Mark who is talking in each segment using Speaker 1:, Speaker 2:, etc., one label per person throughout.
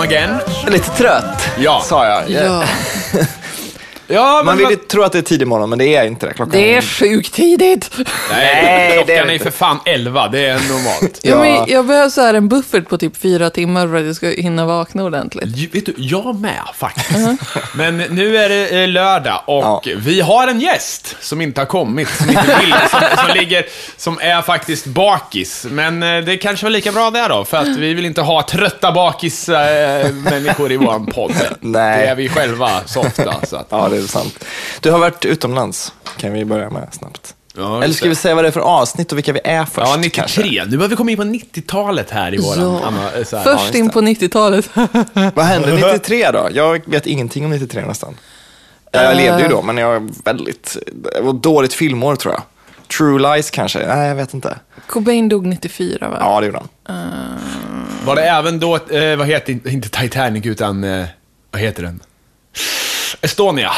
Speaker 1: again.
Speaker 2: Lite trött,
Speaker 1: Ja.
Speaker 2: sa jag.
Speaker 3: Ja.
Speaker 1: Ja, men
Speaker 2: Man vill ju tro att det är tidig morgon, men det är inte det. Klockan
Speaker 3: Det är
Speaker 1: Mm.
Speaker 3: sjukt tidigt.
Speaker 2: Nej,
Speaker 1: Nej,
Speaker 2: det är
Speaker 1: klockan är ju
Speaker 2: inte.
Speaker 1: för fan elva. Det är normalt.
Speaker 3: Ja. men jag behöver så här en buffert på typ fyra timmar för att jag ska hinna vakna ordentligt.
Speaker 1: Ju- Vet du, jag med faktiskt.
Speaker 2: Mm-hmm.
Speaker 1: Men nu är det eh, lördag och vi har en gäst som inte har kommit, som inte vill, som, som ligger, som är faktiskt bakis. Men eh, det kanske var lika bra det då, för att vi vill inte ha trötta bakis-människor i vår podd.
Speaker 2: Nej.
Speaker 1: Det är vi själva så ofta. Så att,
Speaker 2: Ja, det är sant. Du har varit utomlands, kan vi börja med snabbt.
Speaker 1: Ja,
Speaker 2: Eller
Speaker 1: just
Speaker 2: ska vi
Speaker 1: det.
Speaker 2: säga vad det är för avsnitt och vilka vi är först?
Speaker 1: ja, 93.
Speaker 2: kanske?
Speaker 1: Nu börjar vi komma in på 90-talet här i våran...
Speaker 3: Ja.
Speaker 1: Anna, eh, så här.
Speaker 3: Först in på 90-talet.
Speaker 2: Vad hände 93 då? Jag vet ingenting om 93 nästan. Jag levde ju då, men jag var väldigt... Det var dåligt filmår tror jag. True Lies kanske? Nej, jag vet inte.
Speaker 3: Cobain dog 94 va?
Speaker 2: Ja, det gjorde han.
Speaker 1: Var det även då, eh, vad heter, inte Titanic utan, eh, vad heter den? Estonia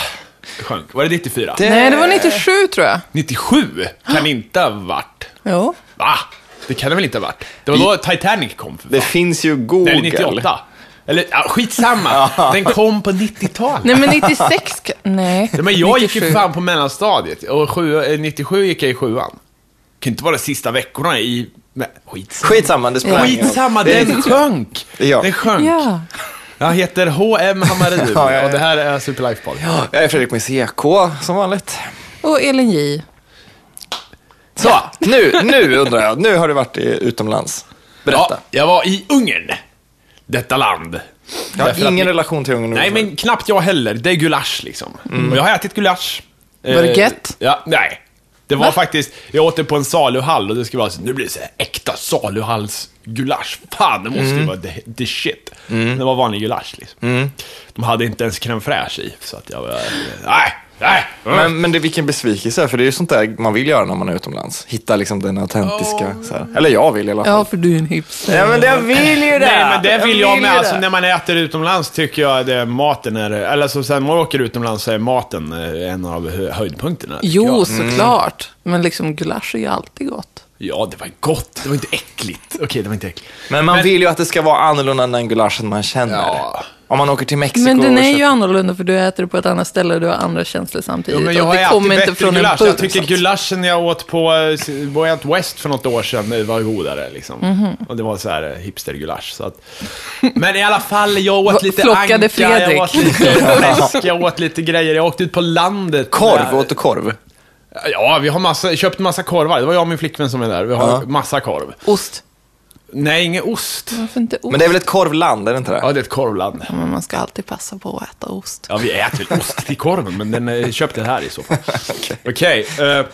Speaker 1: sjönk. Var det 94?
Speaker 3: Nej, det var 97 tror jag.
Speaker 1: 97 kan inte ha varit.
Speaker 3: Jo.
Speaker 1: Va? Det kan det väl inte ha varit? Det var då Titanic kom för
Speaker 2: Det
Speaker 1: fan.
Speaker 2: finns ju Google.
Speaker 1: Eller 98. Eller, ja, skitsamma. Den kom på 90-talet.
Speaker 3: Nej, men 96 ka- Nej.
Speaker 1: Ja, Men jag gick ju
Speaker 3: 97.
Speaker 1: fan på mellanstadiet och sju, eh, 97 gick jag i sjuan. Kan inte vara de sista veckorna i... Nej, skitsamma.
Speaker 2: Skitsamma, det spelar ingen roll.
Speaker 1: Skitsamma,
Speaker 2: Det är
Speaker 1: den
Speaker 2: riktigt.
Speaker 1: sjönk.
Speaker 2: Ja.
Speaker 1: Den sjönk.
Speaker 3: Ja.
Speaker 1: Jag heter H.M. Hammarin
Speaker 2: Ja, ja, ja.
Speaker 1: och det här är Superlife Pod.
Speaker 2: Jag är Fredrik med CK, som vanligt.
Speaker 3: Och Elin J.
Speaker 2: Så, nu, nu undrar jag. Nu har du varit i, utomlands. Berätta.
Speaker 1: Ja, jag var i Ungern. Detta land.
Speaker 2: Jag
Speaker 1: Därför
Speaker 2: har
Speaker 1: att
Speaker 2: ingen
Speaker 1: ni-
Speaker 2: relation till Ungern
Speaker 1: Nej, men knappt jag heller. Det är gulasch liksom. Och jag har ätit gulasch.
Speaker 3: Var det
Speaker 1: Eh,
Speaker 3: gött?
Speaker 1: Ja, nej. Det var faktiskt, jag åt det på en saluhall och det skulle vara så, nu blir det så här äkta saluhallsgulasch. Fan, det måste ju vara the, the shit. Det var vanlig gulasch liksom. De hade inte ens crème fraîche i, så att jag var, nej, nej.
Speaker 2: Men, men det, vilken besvikelse, för det är ju sånt där man vill göra när man är utomlands. Hitta liksom den autentiska. Så här. Eller jag vill i alla fall.
Speaker 3: Ja, för du är en hipster.
Speaker 2: Ja, men jag vill ju det!
Speaker 1: Nej, men det vill jag med. Alltså, när man äter utomlands tycker jag det, maten är... Eller så sen man åker utomlands så är maten eh, en av hö- höjdpunkterna.
Speaker 3: Jo, såklart. Men liksom gulasch är ju alltid gott.
Speaker 1: Ja, det var gott. Det var inte äckligt. Okej, det var inte äckligt.
Speaker 2: Men man vill ju att det ska vara annorlunda än den gulaschen man känner.
Speaker 1: Ja.
Speaker 2: Om man åker till Mexiko
Speaker 3: Men den
Speaker 2: och
Speaker 3: är ju
Speaker 2: köper-
Speaker 3: annorlunda för du äter det på ett annat ställe och du har andra känslor samtidigt.
Speaker 1: Jo, men jag
Speaker 3: Och
Speaker 1: har
Speaker 3: det
Speaker 1: ätit
Speaker 3: kommer
Speaker 1: bättre
Speaker 3: inte från en
Speaker 1: gulasch.
Speaker 3: burk.
Speaker 1: Jag tycker gulaschen jag åt på eh, Way Out West för något år sedan eh, var godare. Liksom. Och det var så här eh, hipstergulasch. Så att... Men i alla fall, jag
Speaker 3: Va-
Speaker 1: åt lite
Speaker 3: flockade
Speaker 1: anka, jag
Speaker 3: Fredrik.
Speaker 1: åt lite fläsk, jag åt lite grejer. Jag åkte ut på landet.
Speaker 2: Korv,
Speaker 1: Där-
Speaker 2: åt du korv?
Speaker 1: Ja, vi har massa, köpt massa korvar. Det var jag och min flickvän som är där. Vi har massa korv.
Speaker 3: Ost.
Speaker 1: Nej, ingen ost.
Speaker 3: Varför inte ost?
Speaker 2: Men det är väl ett korvland, är det inte det?
Speaker 1: Ja, det är ett korvland.
Speaker 3: Men man ska alltid passa på att äta ost.
Speaker 1: Ja, vi äter väl ost till korven, men den eh, köpte här i så fall. Okej. eh, nej,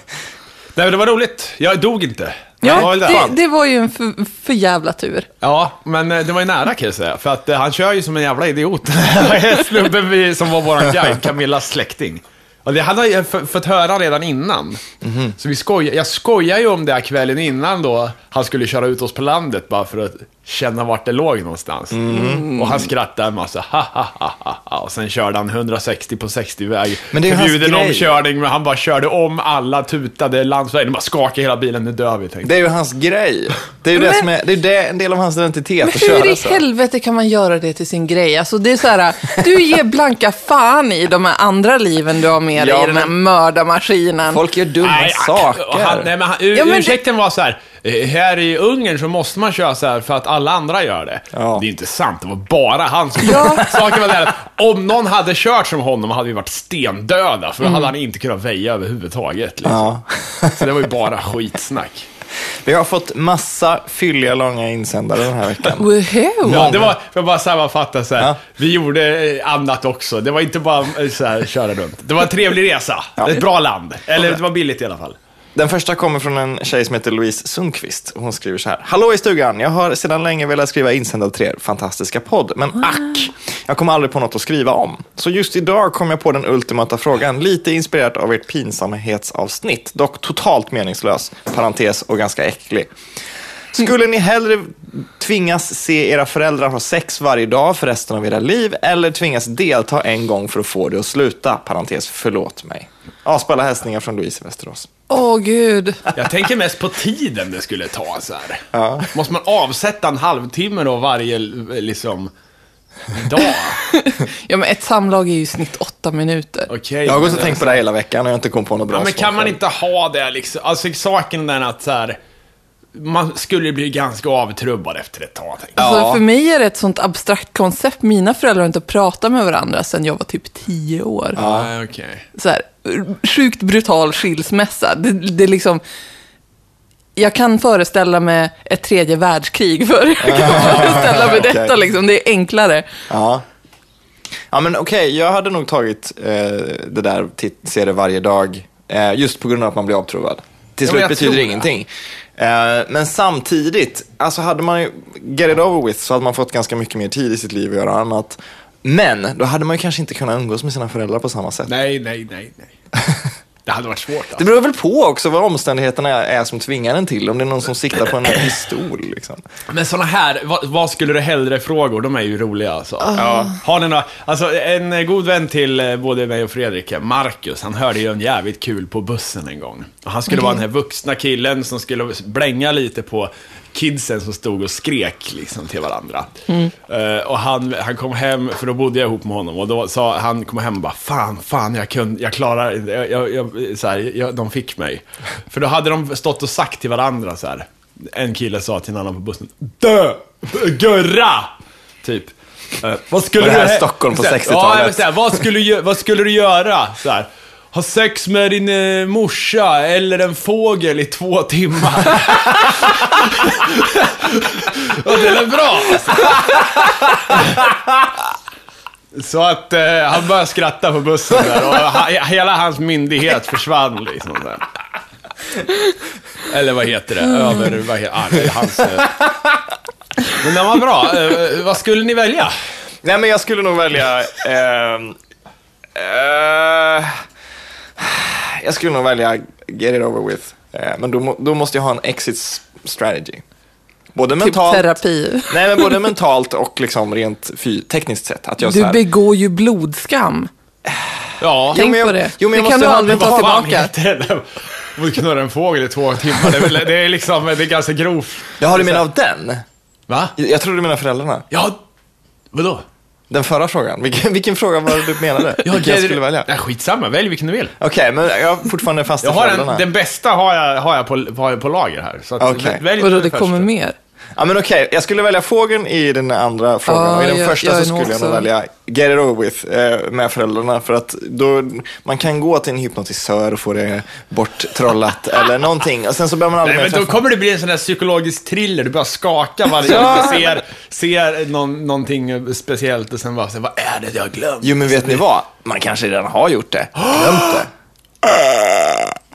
Speaker 1: men det var roligt. Jag dog inte.
Speaker 3: Ja,
Speaker 1: var väl där.
Speaker 3: det, det var ju en för, för jävla tur.
Speaker 1: Ja, men eh, det var ju nära kan jag säga. För att eh, han kör ju som en jävla idiot. Snubben vi, som var våran guide, Camillas släkting. Och det hade jag ju f- fått höra redan innan.
Speaker 2: Mhm.
Speaker 1: Så vi skojar, jag skojar ju om det här kvällen innan då han skulle köra ut oss på landet bara för att känna vart det låg någonstans.
Speaker 2: Mm.
Speaker 1: Och han skrattade en massa, ha, ha, ha, ha, ha. Och sen körde han 160 på 60-väg.
Speaker 2: Men det är ju hans
Speaker 1: Förbjuden
Speaker 2: grej.
Speaker 1: omkörning, men han bara körde om alla, tutade landsvägen. De bara skakade hela bilen, nu dör vi. Tänkte. jag.
Speaker 2: Det är ju hans grej. Det är ju det
Speaker 3: Men-
Speaker 2: som är, det är det, en del av hans identitet
Speaker 3: Men
Speaker 2: att
Speaker 3: hur
Speaker 2: köra
Speaker 3: i
Speaker 2: så.
Speaker 3: helvete kan man göra det till sin grej? Alltså det är så här, du ger blanka fan i de här andra liven du har med dig
Speaker 2: Ja,
Speaker 3: i den här
Speaker 2: men-
Speaker 3: mördarmaskinen.
Speaker 2: Folk gör dumma
Speaker 1: ak-
Speaker 2: saker.
Speaker 1: Han, nej, men han, ur,
Speaker 3: Ja, men det-
Speaker 1: ursäkten var så här. eh, Här i Ungern så måste man köra så här för att alla andra gör det.
Speaker 2: Ja.
Speaker 1: Det är inte sant, det var bara han som ja. Saken var där att om någon hade kört som honom hade vi varit stendöda, för då
Speaker 3: Mm.
Speaker 1: hade han inte kunnat väja överhuvudtaget. Liksom.
Speaker 2: Ja.
Speaker 1: Så det var ju bara skitsnack.
Speaker 2: Vi har fått massa fylliga, långa insändare den här veckan.
Speaker 3: Woho!
Speaker 1: Ja, det var, för att bara sammanfatta så här, vi gjorde eh, annat också. Det var inte bara eh, så här, köra runt. Det var en trevlig resa, ett bra land. Eller det var billigt i alla fall.
Speaker 2: Den första kommer från en tjej som heter Louise Sundqvist. Hon skriver så här. Hallå i stugan! Jag har sedan länge velat skriva insändare till er fantastiska podd, men ack! Jag kom aldrig på något att skriva om. Så just idag kom jag på den ultimata frågan, lite inspirerat av ert pinsamhetsavsnitt, dock totalt meningslös, parentes, och ganska äcklig. Skulle ni hellre tvingas se era föräldrar ha sex varje dag för resten av era liv eller tvingas delta en gång för att få det att sluta? Parentes, förlåt mig. Avspalla hälsningar från Louise i Västerås.
Speaker 3: Åh gud.
Speaker 1: Jag tänker mest på tiden det skulle ta så här. Måste man avsätta en halvtimme då varje, liksom, Idag?
Speaker 3: Ja, men ett samlag är ju i snitt åtta minuter.
Speaker 1: Okej.
Speaker 2: Jag har gått och
Speaker 1: men-
Speaker 2: tänkt på det här hela veckan och jag har inte kommit på något bra
Speaker 1: Ja, men
Speaker 2: svar
Speaker 1: kan man
Speaker 2: själv.
Speaker 1: inte ha det liksom? Alltså saken är den att så här, man skulle bli ganska avtrubbad efter ett tag. tänker jag.
Speaker 3: Alltså,
Speaker 2: Ja.
Speaker 3: för mig är det ett sånt abstrakt koncept. Mina föräldrar har inte pratat med varandra sedan jag var typ tio år.
Speaker 1: Ja, okej.
Speaker 3: Så här, sjukt brutal skilsmässa. Det, det är liksom... Jag kan föreställa mig ett tredje världskrig för jag kan föreställa mig
Speaker 2: Ah, Okej.
Speaker 3: detta. Liksom. Det är enklare.
Speaker 2: Ja. Ja, men okej, jag hade nog tagit eh, det där, titt, se det varje dag, eh, just på grund av att man blir avtrubbad.
Speaker 1: Ja,
Speaker 2: Till slut
Speaker 1: men jag
Speaker 2: betyder
Speaker 1: tror
Speaker 2: det
Speaker 1: det.
Speaker 2: ingenting. Eh, men samtidigt, alltså hade man ju get it over with så hade man fått ganska mycket mer tid i sitt liv att göra annat. Men då hade man ju kanske inte kunnat umgås med sina föräldrar på samma sätt.
Speaker 1: Nej, nej, nej, nej. Det hade varit svårt
Speaker 2: Det
Speaker 1: alltså.
Speaker 2: beror väl på också vad omständigheterna är som tvingar en till. Om det är någon som siktar på en pistol. Liksom.
Speaker 1: Men sådana här, vad, vad skulle du hellre-frågor, de är ju roliga alltså. Ja. Har ni några, alltså en eh, god vän till eh, både mig och Fredrik, eh, Marcus, han hörde ju en jävligt kul på bussen en gång. Och han skulle vara den här vuxna killen som skulle blänga lite på kidsen som stod och skrek liksom till varandra. Eh, och han, han kom hem, för då bodde jag ihop med honom, och då sa han, kom hem och bara fan, fan, jag kunde, jag klarar inte, jag, jag, jag, så här, jag, de fick mig. För då hade de stått och sagt till varandra så här, en kille sa till en annan på bussen, dö, gurra, typ. Eh, vad skulle
Speaker 2: Var det här
Speaker 1: du-
Speaker 2: Stockholm på
Speaker 1: så här,
Speaker 2: 60-talet?
Speaker 1: Ja, jag vill säga, vad skulle, du gö- vad skulle du göra? Så här, ha sex med din eh, morsa eller en fågel i två timmar. Och det är bra alltså. Så att eh, han började skratta på bussen där och ha, hela hans myndighet försvann liksom. Där. Eller vad heter det? Över, vad heter, ah, det är hans... Eh. Men den var bra. Eh, vad skulle ni välja?
Speaker 2: Nej, men jag skulle nog välja... ehm, eh, jag skulle nog välja get it over with. Eh, men då, må- då måste jag ha en exit s- strategy. Både
Speaker 3: Typ
Speaker 2: mentalt,
Speaker 3: terapi.
Speaker 2: nej, men både mentalt och liksom rent fy, tekniskt sett. Att jag så
Speaker 3: Du
Speaker 2: här,
Speaker 3: begår ju blodskam.
Speaker 1: Ja.
Speaker 3: Tänk
Speaker 2: men jag-
Speaker 3: på det.
Speaker 2: jo, men jag
Speaker 3: det
Speaker 2: måste
Speaker 3: kan du
Speaker 2: ha-
Speaker 3: aldrig ta
Speaker 2: vad
Speaker 1: Fan
Speaker 3: tillbaka.
Speaker 1: heter det? Om du knurrar en fågel i två timmar. Det är, väl, det är liksom, det är ganska grovt.
Speaker 2: Jaha, du menar av den?
Speaker 1: Va?
Speaker 2: Jag- Jag tror du menar föräldrarna.
Speaker 1: Ja, vadå?
Speaker 2: Den förra frågan. Vilken, vilken fråga var det du menade? vilken jag skulle välja?
Speaker 1: Nej,
Speaker 2: Okej,
Speaker 1: skitsamma, välj vilken du vill.
Speaker 2: men jag är fortfarande fast i
Speaker 1: Jag har
Speaker 2: föräldrarna.
Speaker 1: en, den bästa har jag, har jag, på, har jag på lager här. Så att,
Speaker 2: Okej.
Speaker 1: välj
Speaker 3: Vadå,
Speaker 1: den
Speaker 3: det kommer
Speaker 1: första.
Speaker 3: mer?
Speaker 2: Ja men okej, jag skulle välja fågeln i den andra frågan
Speaker 3: Ja,
Speaker 2: och i den
Speaker 3: jag-
Speaker 2: första
Speaker 3: jag är
Speaker 2: så
Speaker 3: nog
Speaker 2: skulle jag nog
Speaker 3: också-
Speaker 2: välja Get It Over With eh, med föräldrarna för att då, man kan gå till en hypnotisör och få det borttrollat eller någonting och sen så behöver man aldrig
Speaker 1: Nej, men
Speaker 2: mer
Speaker 1: då
Speaker 2: träffa.
Speaker 1: kommer det bli en sån där psykologisk thriller. Du börjar skaka varje gång du ser, ser någon, någonting speciellt och sen bara, så, vad är det jag har glömt?
Speaker 2: Jo men vet ni vad, man kanske redan har gjort det, glömt det.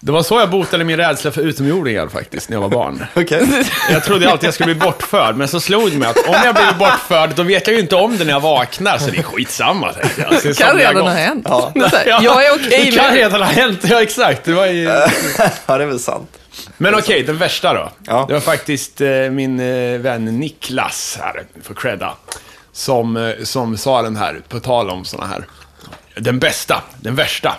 Speaker 1: Det var så jag botade min rädsla för utomjordingar faktiskt, när jag var barn.
Speaker 2: Okej.
Speaker 1: Jag trodde alltid jag skulle bli bortförd, men så slog det mig att om jag blir bortförd, då vet jag ju inte om det när jag vaknar, så det är skitsamma, tänkte jag. Så
Speaker 3: Det
Speaker 1: som
Speaker 3: kan
Speaker 1: det har
Speaker 3: redan ha
Speaker 1: gått.
Speaker 3: hänt.
Speaker 2: Ja.
Speaker 3: Det är så här,
Speaker 1: Ja,
Speaker 3: Jag är okej
Speaker 1: Det kan
Speaker 3: med
Speaker 1: redan ha hänt, ja exakt. Det var ju...
Speaker 2: ja det är väl sant.
Speaker 1: Men okej, den värsta då.
Speaker 2: Ja.
Speaker 1: Det var faktiskt eh, min eh, vän Niklas här, för credda, som, eh, som sa den här, på tal om såna här. Den bästa, den värsta.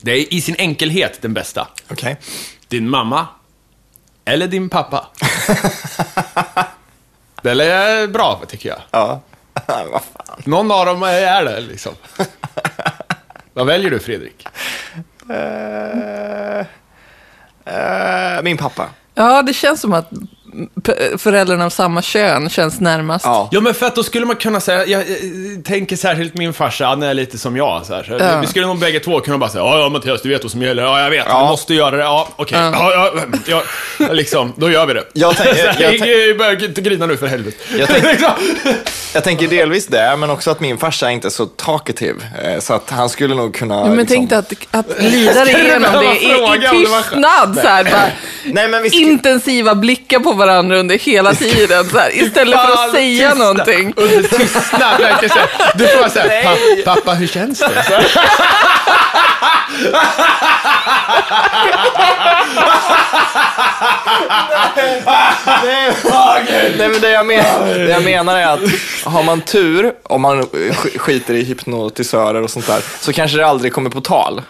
Speaker 1: Det är i sin enkelhet den bästa.
Speaker 2: Okej.
Speaker 1: Din mamma eller din pappa? det är bra, tycker jag.
Speaker 2: Ja. Vad fan.
Speaker 1: Någon av dem är det, liksom. Vad väljer du, Fredrik?
Speaker 2: Eh, eh, min pappa.
Speaker 3: Ja, det känns som att p- föräldrarna av samma kön känns närmast.
Speaker 2: Ja.
Speaker 1: Ja, men för att då skulle man kunna säga, jag, eh, tänker särskilt min farsa, han är lite som jag. Så här, så
Speaker 3: Ja.
Speaker 1: Vi skulle nog bägge två kunna bara säga, ja, ja Mattias, du vet vad som gäller, ja, jag vet,
Speaker 2: Ja.
Speaker 1: vi måste göra det, ja, okej, ja. Ja, ja, ja, liksom, då gör vi det.
Speaker 2: Jag tänker-
Speaker 1: Så här,
Speaker 2: jag tänk-
Speaker 1: "Ing- Börja inte grina nu för helvete.
Speaker 2: Jag tänker-
Speaker 1: Liksom.
Speaker 2: Jag tänker delvis det, men också att min farsa är inte så talkative. eh, Så att han skulle nog kunna...
Speaker 3: Men
Speaker 2: liksom-
Speaker 3: tänk dig att, att lida
Speaker 1: Skulle du
Speaker 3: igenom
Speaker 1: behöva
Speaker 3: det i, i
Speaker 1: fråga om det var skönt?
Speaker 3: tystnad. Så här, bara,
Speaker 2: Nej, men vi ska-
Speaker 3: Intensiva blickar på varandra under hela tiden. Så här, istället för
Speaker 1: Fan,
Speaker 3: att säga
Speaker 1: tysta.
Speaker 3: någonting.
Speaker 1: Under tystnad, verkligen så här. Du får säga pa pappa hur känns det? Så här.
Speaker 2: Nej, Nej men det jag, menar, det jag menar är att har man tur, om man eh, sk- skiter i hypnotisörer och sånt där, så kanske det aldrig kommer på tal.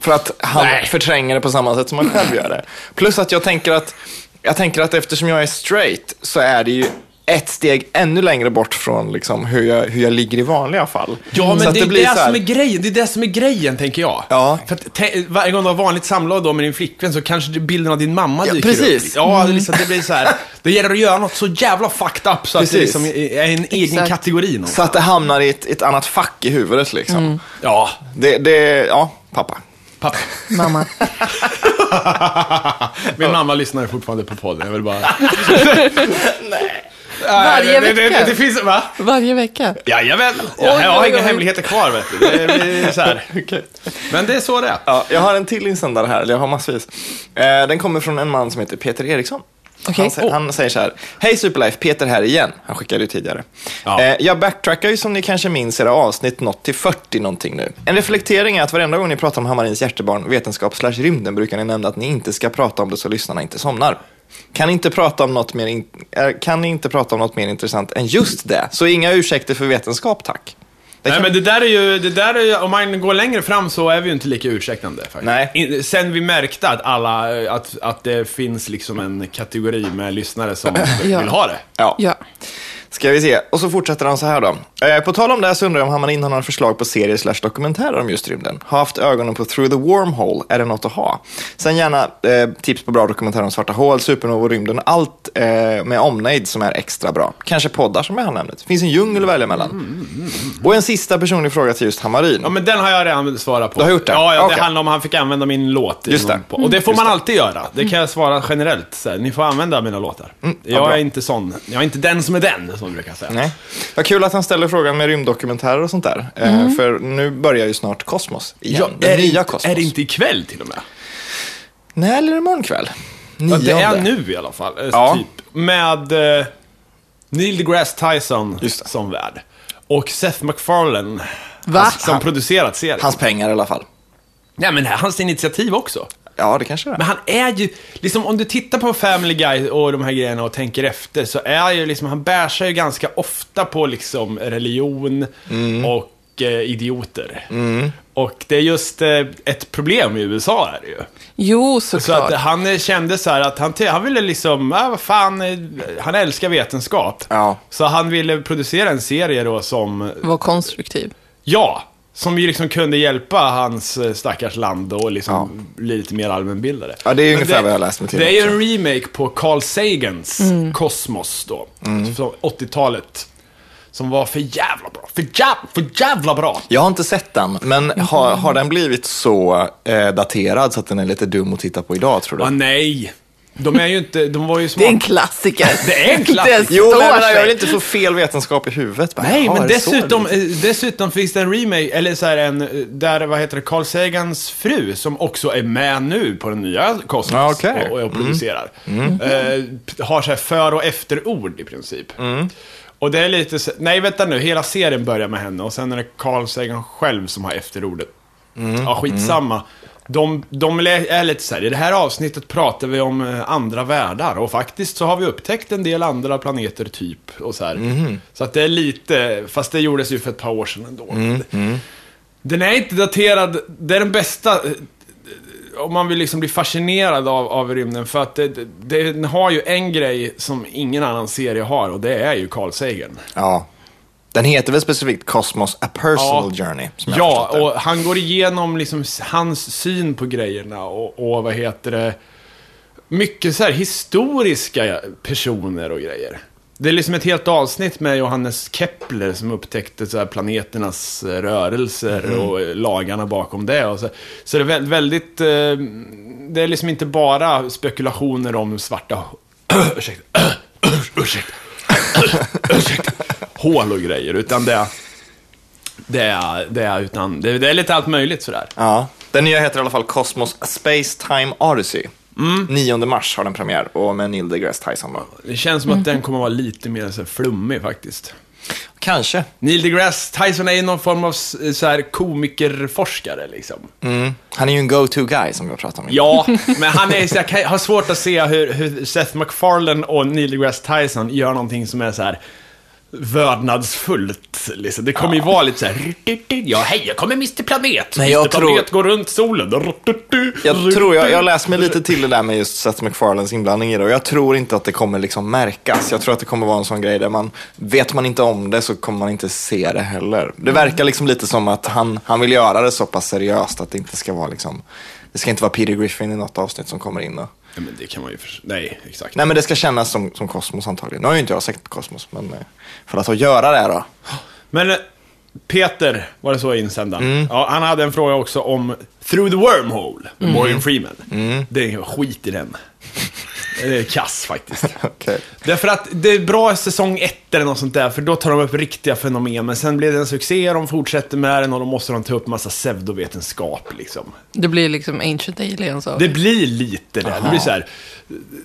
Speaker 2: För att han
Speaker 1: Nej.
Speaker 2: förtränger det på samma sätt som man själv gör det. Plus att jag tänker att, jag tänker att eftersom jag är straight så är det ju ett steg ännu längre bort från liksom, hur, jag, hur jag ligger i vanliga fall.
Speaker 1: Ja, men
Speaker 2: Mm. Så att
Speaker 1: det, är
Speaker 2: blir
Speaker 1: det,
Speaker 2: så här-
Speaker 1: som är grejen, det är det som är grejen, tänker jag.
Speaker 2: Ja.
Speaker 1: För att te- varje gång du har vanligt samlag då med din flickvän så kanske det- bilden av din mamma
Speaker 2: Ja,
Speaker 1: dyker
Speaker 2: precis. Mm.
Speaker 1: upp. Ja, det, är liksom, det blir så här. Det gäller att göra något så jävla fucked up så att det
Speaker 2: Precis.
Speaker 1: liksom är en egen
Speaker 3: Exakt.
Speaker 1: kategori. Någon.
Speaker 2: Så att det hamnar i ett, ett annat fack i huvudet liksom.
Speaker 1: Ja,
Speaker 2: Det, det, ja, pappa.
Speaker 1: pappa.
Speaker 3: Mamma.
Speaker 1: Min mamma lyssnar ju fortfarande på podden. Jag vill bara... Nej. det,
Speaker 3: Varje
Speaker 1: det, det,
Speaker 3: vecka.
Speaker 1: det finns... Va?
Speaker 3: Varje vecka.
Speaker 1: Jajamän. Jag
Speaker 3: Oj,
Speaker 1: har
Speaker 3: oj,
Speaker 1: inga
Speaker 3: oj.
Speaker 1: hemligheter kvar, vet du. Det blir så här. Men det är så det är.
Speaker 2: Ja, jag har en till insändare här, eller jag har massvis. Eh, den kommer från en man som heter Peter Eriksson.
Speaker 3: Okej.
Speaker 2: Han, sä- han säger så här, hej Superlife, Peter här igen. Han skickade ju tidigare.
Speaker 1: Ja.
Speaker 2: Eh, jag backtrackar ju som ni kanske minns era avsnitt nått till 40 någonting nu. En reflektering är att varenda gång ni pratar om Hammarins hjärtebarn, vetenskap slash rymden brukar ni nämna att ni inte ska prata om det så lyssnarna inte somnar. Kan ni inte prata om något mer, in- eh, kan ni inte prata om något mer intressant än just det? Så inga ursäkter för vetenskap, tack. Det
Speaker 1: Nej
Speaker 2: kan-
Speaker 1: men det där är ju, det där är ju, om man går längre fram så är vi ju inte lika ursäktande faktiskt.
Speaker 2: Nej.
Speaker 1: In, sen vi märkte att alla, eh, att, att det finns liksom en kategori med lyssnare som
Speaker 3: Ja.
Speaker 1: vill ha det.
Speaker 2: Ja.
Speaker 3: Ja.
Speaker 2: Ska vi se. Och så fortsätter han så här då. Eh, på tal om det här så undrar jag om Hammarin har några förslag på serier slash dokumentärer om just rymden. Har haft ögonen på Through the Wormhole, är det något att ha? Sen gärna eh, tips på bra dokumentärer om svarta hål, supernovor, rymden, allt eh, med omnejd som är extra bra. Kanske poddar som jag har nämnt. Finns en djungel att välja mellan. Och en sista personlig fråga till just Hammarin.
Speaker 1: Ja men den har jag redan svarat på.
Speaker 2: Du har gjort det?
Speaker 1: Ja, ja
Speaker 2: Okej.
Speaker 1: det handlar om att han fick använda min låt. i
Speaker 2: Just
Speaker 1: någon
Speaker 2: det.
Speaker 1: po- Och det får man alltid göra. Det kan jag svara generellt. Så här, ni får använda mina låtar.
Speaker 2: Mm. ja,
Speaker 1: jag
Speaker 2: bra.
Speaker 1: är inte sån, jag är inte den som är den, som vi brukar säga.
Speaker 2: Nej. Vad kul att han ställer frågan med rymddokumentärer och sånt där. Eh, För nu börjar ju snart Kosmos igen.
Speaker 1: Ja,
Speaker 2: det
Speaker 1: är, det
Speaker 2: nya
Speaker 1: inte,
Speaker 2: Kosmos.
Speaker 1: är det inte ikväll till och med?
Speaker 2: Nej, eller imorgon kväll.
Speaker 1: Ja, det är
Speaker 2: Nionde.
Speaker 1: nu i alla fall. eh,
Speaker 2: Ja.
Speaker 1: Typ. Med eh, Neil deGrasse Tyson
Speaker 2: Just det.
Speaker 1: som värd. Och Seth MacFarlane.
Speaker 3: Va?
Speaker 1: han- Som
Speaker 2: Han-
Speaker 1: producerat serien.
Speaker 2: Hans pengar i alla fall.
Speaker 1: Nej men hans initiativ också.
Speaker 2: Ja, det kanske det
Speaker 1: Men
Speaker 2: är.
Speaker 1: han är ju, liksom om du tittar på Family Guy och de här grejerna och tänker efter så är ju liksom, han bär sig ju ganska ofta på liksom religion
Speaker 2: Mm.
Speaker 1: och eh, idioter. Och det är just eh, ett problem i USA är det ju.
Speaker 3: Jo,
Speaker 1: Så
Speaker 3: såklart.
Speaker 1: att han eh, kände så här att han, te- han ville liksom, ah, vad fan, eh, han älskar vetenskap.
Speaker 2: Ja.
Speaker 1: Så han ville producera en serie då som,
Speaker 3: Var konstruktiv.
Speaker 1: ja, som ju liksom kunde hjälpa hans eh, stackars land och liksom
Speaker 2: Ja.
Speaker 1: bli lite mer allmänbildade.
Speaker 2: Ja, det är ju
Speaker 1: Men
Speaker 2: ungefär vad jag läst mig till Mm.
Speaker 1: Det är ju en remake på Carl Sagans Kosmos då, från 80-talet. Som var för jävla bra, för jävla, för jävla bra.
Speaker 2: Jag har inte sett den, men har, har den blivit så eh, daterad så att den är lite dum att titta på idag, tror
Speaker 1: Ah,
Speaker 2: du?
Speaker 1: nej, de är ju inte, de var ju
Speaker 3: Det är
Speaker 1: smarta.
Speaker 3: en klassiker.
Speaker 1: Det är en klassiker.
Speaker 3: Det
Speaker 2: Jo, men
Speaker 3: står
Speaker 2: jag, menar,
Speaker 3: sig.
Speaker 2: jag vill inte få fel vetenskap i huvudet. Bara,
Speaker 1: Nej,
Speaker 2: jaha,
Speaker 1: men
Speaker 2: är det så
Speaker 1: dessutom,
Speaker 2: liksom? det
Speaker 1: eh, dessutom finns det en remake, eller så här en, eh, där, vad heter det, Carl Sagans fru, som också är med nu på den nya Kosmos
Speaker 2: Ja, okej. Mm.
Speaker 1: och, och producerar. Eh, p- har så här för och efterord i princip.
Speaker 2: Mm.
Speaker 1: Och det är lite så, nej vänta nu, hela serien börjar med henne och sen är det Carl Sagan själv som har efterordet. Ja, skitsamma. De, de lä- är lite så här, i det här avsnittet pratar vi om eh, andra världar och faktiskt så har vi upptäckt en del andra planeter typ och så här. Så att det är lite, fast det gjordes ju för ett par år sedan ändå. Den är inte daterad, det är den bästa, eh, om man vill liksom bli fascinerad av, av rymden, för att det, det, den har ju en grej som ingen annan serie har och det är ju Carl Sagan.
Speaker 2: Ja. Den heter väl specifikt Cosmos A Personal Journey? som jag har
Speaker 1: Ja,
Speaker 2: förstått det.
Speaker 1: och han går igenom liksom hans syn på grejerna och, och vad heter det, mycket så här historiska personer och grejer. Det är liksom ett helt avsnitt med Johannes Kepler som upptäckte så här planeternas eh, rörelser
Speaker 2: Mm.
Speaker 1: och eh, lagarna bakom det. Och så så det är vä- väldigt, eh, det är liksom inte bara spekulationer om svarta ursäkta, ursäkta, ursäkta, hål och grejer, utan det är det är, det är, utan, det, det är lite allt möjligt sådär.
Speaker 2: Ja. Den nya heter i alla fall Cosmos A Space Time Odyssey. 9 mars har den premiär och med Neil deGrasse Tyson. Då.
Speaker 1: Det känns som
Speaker 2: Mhm.
Speaker 1: att den kommer vara lite mer så här flummig faktiskt.
Speaker 2: Kanske.
Speaker 1: Neil deGrasse Tyson är ju någon form av s- så här komikerforskare liksom.
Speaker 2: Mm. Han är ju en go-to guy som vi har pratat om.
Speaker 1: Ja, men han är, så jag kan, har svårt att se hur, hur Seth MacFarlane och Neil deGrasse Tyson gör någonting som är så här vördnadsfullt. Liksom. Det kommer ju vara lite så här... Ja, hej, jag kommer Mr Planet.
Speaker 2: Nej, jag
Speaker 1: Mr Planet
Speaker 2: tror-
Speaker 1: går runt solen.
Speaker 2: Jag tror, jag, jag läste mig lite till det där med just Seth MacFarlanes inblandning i det och jag tror inte att det kommer liksom märkas. Jag tror att det kommer vara en sån grej där man, vet man inte om det så kommer man inte se det heller. Det verkar liksom lite som att han, han vill göra det så pass seriöst att det inte ska vara liksom, det ska inte vara Peter Griffin i något avsnitt som kommer in och...
Speaker 1: Ja, men det kan man ju för... Nej, exakt.
Speaker 2: Nej men det ska kännas som, som Kosmos antagligen. Nu har ju inte jag sett Kosmos, men eh, för att få göra det här då.
Speaker 1: Men eh, Peter, var det så i insändaren? Ja, han hade en fråga också om Through the Wormhole, med Morgan Freeman. Det är skit i den. Det är kass faktiskt.
Speaker 2: Okej.
Speaker 1: Därför att det är bra säsong ett eller något sånt där, för då tar de upp riktiga fenomen. Men sen blir det en succé, de fortsätter med den och då måste de ta upp massa pseudovetenskap liksom.
Speaker 3: Det blir liksom ancient aliens av
Speaker 1: Det blir lite det. Det blir så här,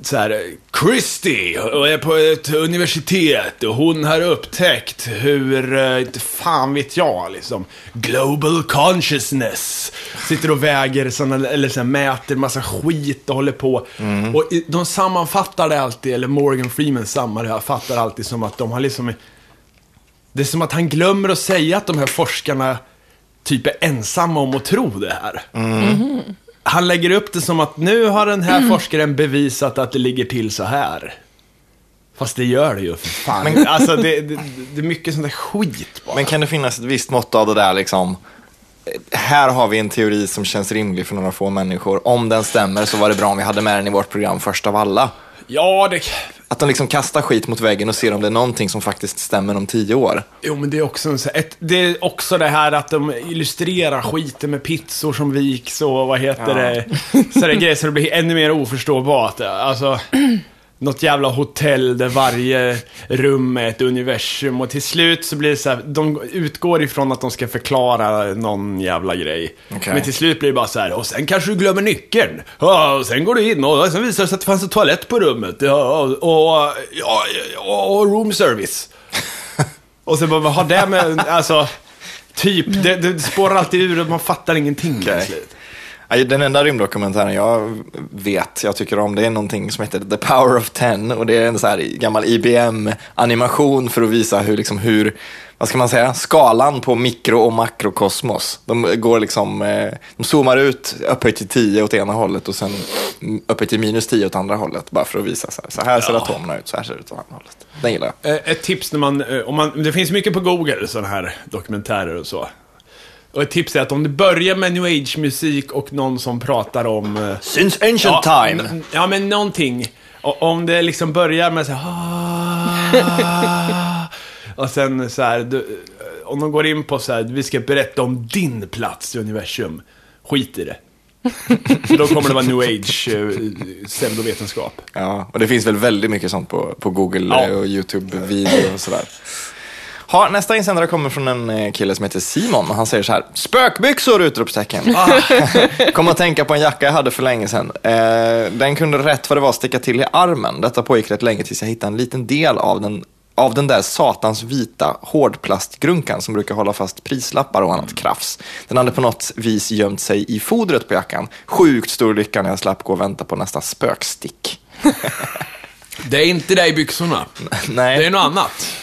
Speaker 1: så här, Christy och är på ett universitet och hon har upptäckt hur, eh, inte fan vet jag, liksom, global consciousness. Sitter och väger, såna, eller så här, mäter massa skit och håller på. Och i- de sammanfattar det alltid, eller Morgan Freeman sammanfattar alltid som att de har liksom det är som att han glömmer att säga att de här forskarna typ är ensamma om att tro det här. Han lägger upp det som att nu har den här forskaren bevisat att det ligger till så här. Fast det gör det ju för fan. Alltså det, det, det är mycket sånt där skit bara.
Speaker 2: Men kan det finnas ett visst mått av det där liksom, eh, här har vi en teori som känns rimlig för några få människor. Om den stämmer så var det bra om vi hade med den i vårt program först av alla.
Speaker 1: Ja, det...
Speaker 2: Att de liksom kastar skit mot väggen och ser om det är någonting som faktiskt stämmer om tio år.
Speaker 1: Jo, men det är också en, så- ett, Det är också det här att de illustrerar skiten med pizzor som viks och vad heter det? Så det är grejer så det blir ännu mer oförståbart. Alltså, något jävla hotell där varje rum är ett universum och till slut så blir det så här, de utgår ifrån att de ska förklara någon jävla grej.
Speaker 2: Okej.
Speaker 1: Men till slut blir det bara så här, och sen kanske du glömmer nyckeln. Ja, och sen går du in och sen visar det sig att det fanns en toalett på rummet. Ja, och, och, ja, och, och room service. Och sen bara, vad har det med, alltså, typ, det, det spårar alltid ur och man fattar ingenting.
Speaker 2: Okej.
Speaker 1: till slut.
Speaker 2: Nej, Den enda rymddokumentären jag vet, jag tycker om, det är någonting som heter The Power of Ten. Och det är en så här gammal IBM-animation för att visa hur, liksom, hur, vad ska man säga, skalan på mikro och makrokosmos. De går liksom, eh, de zoomar ut upphöjt till 10 åt ena hållet och sen upphöjt till minus 10 åt andra hållet. Bara för att visa så här, så här ser atomerna ut, så här ser det ut åt andra hållet. Den gillar jag.
Speaker 1: Eh, Ett tips när man, eh, om man, det finns mycket på Google, sådana här dokumentärer och så. Och ett tips är att om du börjar med new age-musik och någon som pratar om... eh,
Speaker 2: Since ancient time.
Speaker 1: n- Ja, men någonting. Och om det liksom börjar med så här... "Ah", Och sen så här, du, eh, om de går in på så här, vi ska berätta om din plats i universum. Skit i det. För då kommer det vara new age, eh, pseudovetenskap.
Speaker 2: Ja, och det finns väl väldigt mycket sånt på, på Google
Speaker 1: Ja.
Speaker 2: eh, och YouTube-video och sådär. Ha, nästa insändare kommer från en eh, kille som heter Simon och han säger så här, spökbyxor! Utropstecken. Kom att tänka på en jacka jag hade för länge sedan. Eh, den kunde rätt vad det var sticka till i armen. Detta pågick rätt länge tills jag hittade en liten del av den, av den där satans vita hårdplastgrunkan som brukar hålla fast prislappar och annat krafs. Den hade på något vis gömt sig i fodret på jackan. Sjukt stor lycka när jag slapp gå och vänta på nästa spökstick.
Speaker 1: Det är inte det i byxorna.
Speaker 2: Nej.
Speaker 1: Det är något annat.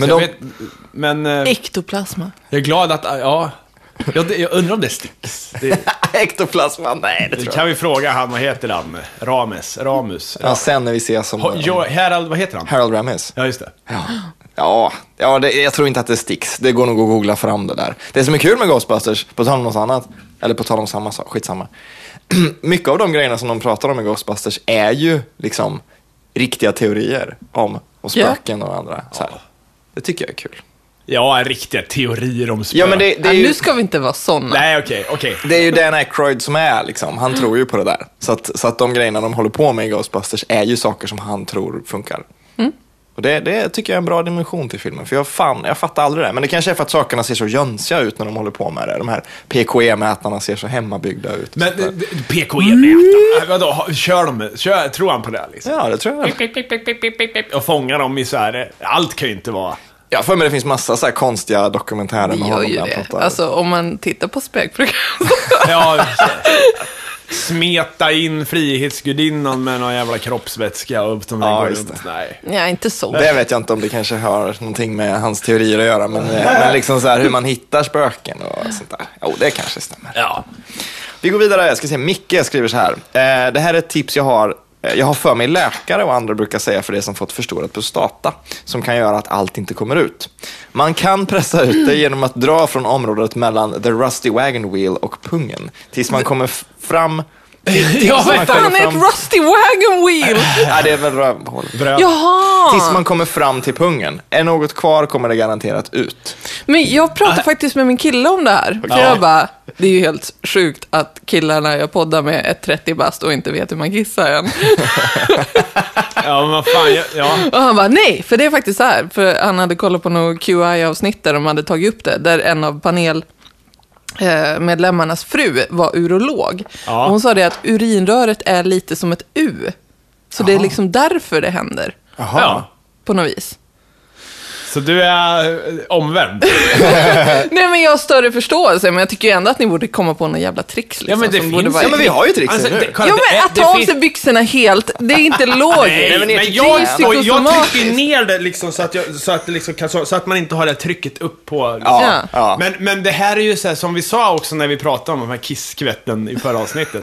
Speaker 2: Men
Speaker 1: Men,
Speaker 2: de-
Speaker 1: jag, vet, men eh,
Speaker 3: Ektoplasma.
Speaker 1: jag är glad att, ja. Jag, jag undrar om det sticks. Det,
Speaker 2: Ektoplasma, nej det
Speaker 1: det
Speaker 2: tror jag
Speaker 1: kan vi fråga han, vad heter han? Rames, Ramus.
Speaker 2: Ja, sen när vi ses som eh,
Speaker 1: Ha- Jo, Harald, vad heter han?
Speaker 2: Harold Ramis.
Speaker 1: Ja, just det.
Speaker 2: Ja, ja, ja det, jag tror inte att det sticks. Det går nog att googla fram det där. Det som är kul med Ghostbusters, på tal om något annat, eller på tal om samma sak, skitsamma. Mycket av de grejerna som de pratar om i Ghostbusters är ju liksom riktiga teorier om, om
Speaker 3: Ja.
Speaker 2: spöken och andra. Så här. Det tycker jag är kul.
Speaker 1: Ja, riktiga teorier om spöken.
Speaker 2: Ja, men det, det är
Speaker 3: ja,
Speaker 2: ju...
Speaker 3: nu ska vi inte vara sådana.
Speaker 1: Nej, okej, okej.
Speaker 2: Det är ju Dan Aykroyd som är liksom, han tror ju på det där. Så att, så att de grejerna de håller på med i Ghostbusters är ju saker som han tror funkar.
Speaker 3: Mm.
Speaker 2: Och det, det tycker jag är en bra dimension till filmen, för jag, fan, jag fattar aldrig det. Men det kanske är för att sakerna ser så jönsiga ut när de håller på med det. De här PKE-mätarna ser så hemmabyggda ut. och
Speaker 1: Men
Speaker 2: sånt där.
Speaker 1: eh, d- PKE-mätaren, eh, vadå, ha- kör de, kör, tror han på det liksom?
Speaker 2: Ja, det tror jag.
Speaker 1: Och fångar dem i så här, eh, allt kan ju inte vara...
Speaker 2: Jag har för mig det finns massa så här konstiga dokumentärer
Speaker 3: Vi
Speaker 2: med
Speaker 3: gör
Speaker 2: honom
Speaker 3: ju Alltså-
Speaker 2: där han
Speaker 3: det.
Speaker 2: pratar.
Speaker 3: Alltså om man tittar på spökprogram.
Speaker 1: Ja, just det. smeta in frihetsgudinnan med någon jävla kroppsvätska och upp de där
Speaker 2: Ja,
Speaker 1: går
Speaker 2: just
Speaker 1: runt. Nej.
Speaker 3: Nej, inte så.
Speaker 2: Det vet jag inte om det kanske har någonting med hans teorier att göra, men, men liksom så här hur man hittar spöken och sånt där. Jo, det kanske stämmer.
Speaker 1: Ja.
Speaker 2: Vi går vidare. Jag ska se. Micke skriver så här. Eh, det här är ett tips jag har. eh, Jag har för mig läkare och andra brukar säga för det som fått förstorat prostata som kan göra att allt inte kommer ut. Man kan pressa ut det genom att dra från området mellan the rusty wagon wheel och pungen tills man kommer f- fram.
Speaker 1: Ja,
Speaker 2: man
Speaker 1: vänta.
Speaker 2: kommer
Speaker 3: Fan, ett
Speaker 2: fram.
Speaker 3: rusty wagon wheel!
Speaker 2: Ja, det är väl rövhålet.
Speaker 1: Bröd.
Speaker 3: Jaha!
Speaker 2: Tills man kommer fram till pungen. Är något kvar kommer det garanterat ut.
Speaker 3: Men jag pratade faktiskt med min kille om det här. För
Speaker 1: Äh. Ja.
Speaker 3: jag bara, det är ju helt sjukt att killarna jag poddar med är 30 bast och inte vet hur man kissar än.
Speaker 1: Ja, men vad fan. jag- Ja.
Speaker 3: Och han bara, nej, för det är faktiskt så här. För han hade kollat på något QI-avsnitt där de hade tagit upp det, där en av panel eh, medlemmarnas fru var urolog.
Speaker 1: Ja.
Speaker 3: Och hon sa det att urinröret är lite som ett U. Så det är liksom därför det händer,
Speaker 2: Jaha.
Speaker 1: ja.
Speaker 3: på något vis.
Speaker 1: Så du är eh, omvänd.
Speaker 3: Nej, men jag har större förståelse, men jag tycker ju ändå att ni borde komma på några jävla tricks. Liksom,
Speaker 1: Ja, men det
Speaker 3: som
Speaker 1: finns
Speaker 3: borde vara
Speaker 2: Ja, men vi har ju trixen
Speaker 1: Alltså,
Speaker 2: nu.
Speaker 1: det- kolla,
Speaker 3: Ja,
Speaker 1: det
Speaker 3: men
Speaker 1: är-
Speaker 3: att
Speaker 1: det
Speaker 3: ta av
Speaker 1: finns-
Speaker 3: sig byxorna helt, det är inte
Speaker 1: Nej,
Speaker 3: logiskt.
Speaker 1: men,
Speaker 3: det är
Speaker 1: jag, och jag trycker
Speaker 3: psykosomatiskt.
Speaker 1: ner det liksom så att, jag, så, att det liksom kan, så, så att man inte har det här trycket upp på. Liksom.
Speaker 2: Ja,
Speaker 3: Ja.
Speaker 2: ja.
Speaker 1: Men, men det här är ju så här, som vi sa också när vi pratade om de här kisskvätten i förra avsnittet.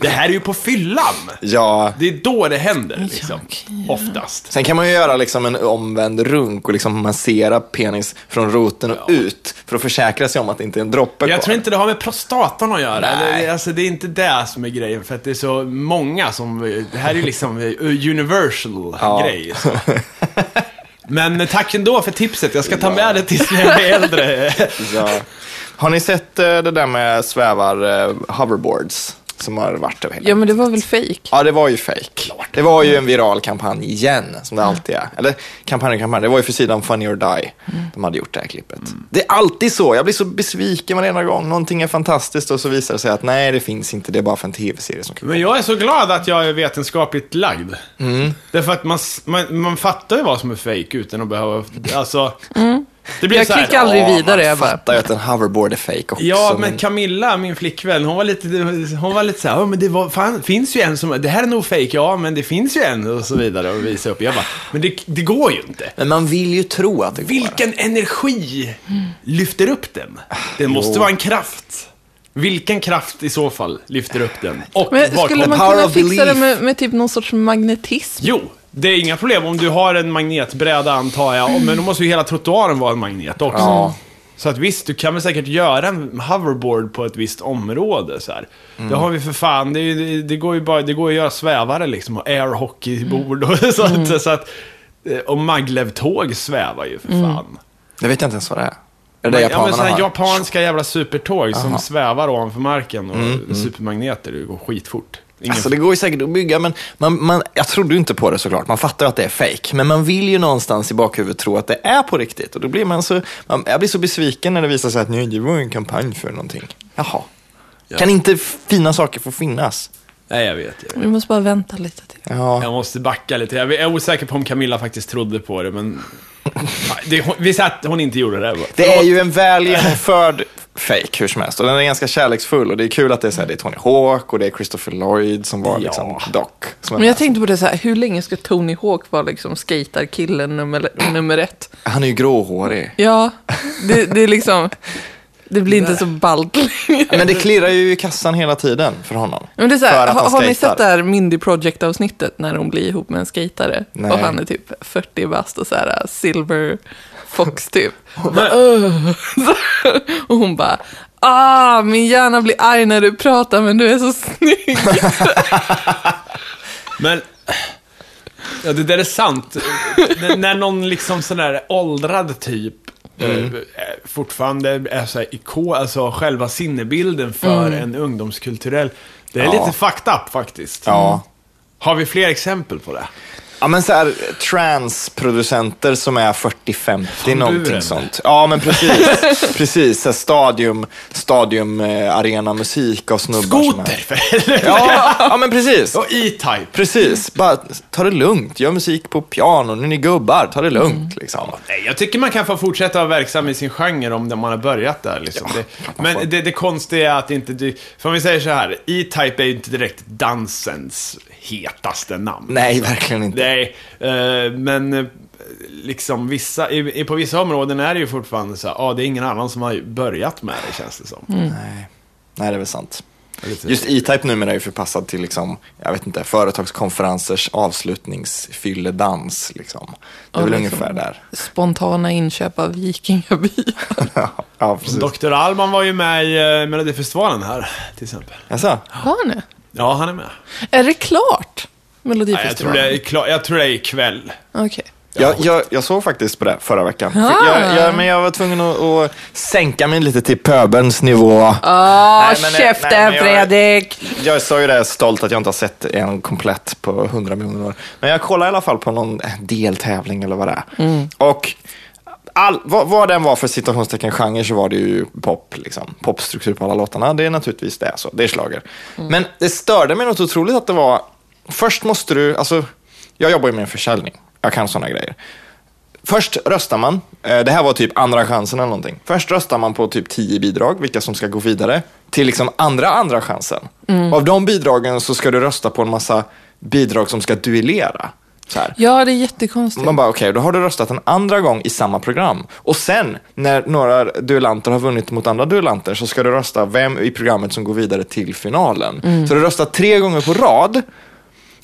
Speaker 1: det här är ju på fyllan.
Speaker 2: ja.
Speaker 1: Det är då det händer, liksom. Oftast.
Speaker 2: Sen kan man ju göra liksom en omvänd runk och liksom massera penis från roten och ut för att försäkra sig om att det inte är en droppe
Speaker 1: Jag
Speaker 2: kvar.
Speaker 1: tror inte det har med prostatan att göra.
Speaker 2: Nej.
Speaker 1: Det, alltså, det är inte det som är grejen, för att det är så många som... Det här är ju liksom eh, universal
Speaker 2: Ja.
Speaker 1: grej. Så. Men eh, tack ändå för tipset. Jag ska ta med det tills jag blir äldre.
Speaker 2: Ja. Har ni sett eh, det där med svävar eh, hoverboards som har varit över hela
Speaker 3: Ja, men det var väl fejk?
Speaker 2: Ja, det var ju fejk. Det var ju en viral kampanj igen, som det alltid är. Eller kampanj och kampanj, det var ju för sidan Funny or Die
Speaker 3: Mm.
Speaker 2: de hade gjort det här klippet.
Speaker 1: Mm.
Speaker 2: Det är alltid så, jag blir så besviken varenda gång. Någonting är fantastiskt och så visar det sig att nej, det finns inte, det är bara för en tv-serie som
Speaker 1: Men jag är så glad att jag är vetenskapligt lagd. Därför att man, s- man, man fattar ju vad som är fake utan att behöva... Alltså... Det blir
Speaker 3: Mm. Jag
Speaker 1: så här,
Speaker 3: klickar aldrig
Speaker 1: "Åh,
Speaker 3: vidare. Jag bara,
Speaker 2: fattar ju att en hoverboard är fejk också.
Speaker 1: Ja, men Camilla, min flickvän, hon var lite, hon var lite så här, "Ja, men det var, fan, finns ju en som, det här är nog fake, ja, men det finns ju en och så vidare och visa upp. Jag bara, men det, det går ju inte.
Speaker 2: Men man vill ju tro att det går.
Speaker 1: Vilken energi lyfter upp den? Det måste vara en kraft. Vilken kraft i så fall lyfter upp den? Och
Speaker 3: Men
Speaker 1: vart
Speaker 3: skulle
Speaker 1: kommer-
Speaker 3: man
Speaker 2: power
Speaker 3: kunna
Speaker 2: of
Speaker 3: fixa det
Speaker 2: belief.
Speaker 3: med, med typ någon sorts magnetism?
Speaker 1: Jo, det är inga problem om du har en magnetbräda antar jag. Men då måste ju hela trottoaren vara en magnet också.
Speaker 2: Ja.
Speaker 1: Så att visst, du kan väl säkert göra en hoverboard på ett visst område så här. Det har vi för fan, det, är ju- det går ju bara, det går ju att göra svävare liksom och airhockeybord och så att,
Speaker 2: Mm.
Speaker 1: så att eh, och maglev-tåg svävar ju för fan.
Speaker 2: Det vet jag inte ens vad det är. Är Mm. det
Speaker 1: ja,
Speaker 2: det
Speaker 1: men
Speaker 2: japanerna
Speaker 1: såna här
Speaker 2: har?
Speaker 1: japanska jävla supertåg som
Speaker 2: Aha. Mm,
Speaker 1: svävar ovanför marken och supermagneter, det går skitfort. Ingen
Speaker 2: Alltså det går ju säkert att bygga, men man, man, jag trodde ju inte på det såklart. Man fattar ju att det är fake, men man vill ju någonstans i bakhuvudet tro att det är på riktigt. Och då blir man så, man, jag blir så besviken när det visar sig att nej, det var ju en kampanj för någonting. Jaha. Kan inte fina saker få finnas?
Speaker 1: Nej, jag vet. Jag vet.
Speaker 3: Vi måste bara vänta lite till.
Speaker 2: Ja.
Speaker 1: Jag måste backa lite. Jag är osäker på om Camilla faktiskt trodde på det, men... Det, hon, vi sa att hon inte gjorde det. Bara.
Speaker 2: Det är ju en väl genomförd fake hur som helst. Och den är ganska kärleksfull. Och det är kul att det är, så här, det är Tony Hawk och det är Christopher Lloyd som var liksom Doc. Som är
Speaker 3: Men jag
Speaker 2: med.
Speaker 3: tänkte på det så här, hur länge ska Tony Hawk vara liksom skatarkillen nummer, nummer ett?
Speaker 2: Han är ju gråhårig.
Speaker 3: Ja, det, det är liksom, det blir inte så ballt längre.
Speaker 2: Men det klirrar ju i kassan hela tiden för honom.
Speaker 3: Men det är så
Speaker 2: För
Speaker 3: här,
Speaker 2: att
Speaker 3: har,
Speaker 2: han
Speaker 3: har ni
Speaker 2: skejtar.
Speaker 3: sett det här Mindy Project-avsnittet när hon blir ihop med en skejtare?
Speaker 2: Nej.
Speaker 3: Och han är typ 40 bast och så här äh, silver fox typ. Hon bara, "Ugh." och hon bara, ah, min hjärna blir arg när du pratar men du är så snygg.
Speaker 1: Men... Ja, det där är sant. N- när någon liksom sån där åldrad typ
Speaker 2: Mm.
Speaker 1: eh, fortfarande är så här iko, alltså själva sinnebilden för en ungdomskulturell. Det är
Speaker 2: Mm. Ja.
Speaker 1: lite fucked up faktiskt.
Speaker 2: Ja.
Speaker 1: Har vi fler exempel på det?
Speaker 2: Ja men så här transproducenter som är 40-50 någonting
Speaker 1: buren.
Speaker 2: sånt. Ja men precis. precis så här stadium, stadium eh, arena musik och snubbar som är-
Speaker 1: Skoter! för helvete.
Speaker 2: Ja, ja men precis.
Speaker 1: Och E-Type.
Speaker 2: Precis, bara ta det lugnt, gör musik på piano, nu är ni gubbar, ta det lugnt liksom.
Speaker 1: Nej, jag tycker man kan få fortsätta vara verksam i sin genre om man har börjat där. Liksom. det, men det, det konstiga är att inte du... För om vi säger så här, E-Type är ju inte direkt dansens hetaste namn.
Speaker 2: Nej, verkligen inte.
Speaker 1: Nej, eh, men eh, liksom vissa, i, i- på vissa områden är det ju fortfarande så här, ah, det är ingen annan som har börjat med det känns det som.
Speaker 2: Nej. Nej, det är väl sant.
Speaker 1: Lite-
Speaker 2: Mm. Just E-Type numera är ju förpassad till liksom, jag vet inte, företagskonferensers avslutningsfylledans. Liksom. Det är
Speaker 3: Och
Speaker 2: väl
Speaker 3: liksom-
Speaker 2: ungefär där.
Speaker 3: Spontana inköp av vikingaby.
Speaker 2: ja, precis.
Speaker 1: Dr. Alman var ju med i eh, Melodifestivalen här, till exempel.
Speaker 2: Jaså?
Speaker 3: Har ni?
Speaker 1: Ja, han är med.
Speaker 3: Är det klart?
Speaker 1: Ja, jag, tror
Speaker 3: Melodifestivalen?
Speaker 1: det är klar, jag tror det är ikväll.
Speaker 3: Okej.
Speaker 2: Jag, jag, jag såg faktiskt på det förra veckan.
Speaker 3: Ah.
Speaker 2: Jag, jag, men jag var tvungen att, att sänka mig lite till pöbelns nivå.
Speaker 3: Åh,
Speaker 2: Nej, men- käften, nej, men jag-
Speaker 3: Ah, Fredrik!
Speaker 2: Jag sa ju det stolt att jag inte har sett en komplett på 100 miljoner år. Men jag kollade i alla fall på någon eh, deltävling eller vad det är. Och all, vad, vad den var för citationstecken genre så var det ju pop, liksom. popstruktur på alla låtarna. Det är naturligtvis det, så. det är schlager. Men det störde mig något otroligt att det var, först måste du, alltså, jag jobbar ju med en försäljning, jag kan sådana grejer. Först röstar man, eh, det här var typ andra chansen eller någonting. Först röstar man på typ 10 bidrag, vilka som ska gå vidare, till liksom andra andra chansen. Av de bidragen så ska du rösta på en massa bidrag som ska duellera. Så här.
Speaker 3: Ja, det är jättekonstigt.
Speaker 2: Man bara, okej, då har du röstat en andra gång i samma program. Och sen, när några duellanter har vunnit mot andra duellanter, så ska du rösta vem i programmet som går vidare till finalen. Så du röstar tre gånger på rad.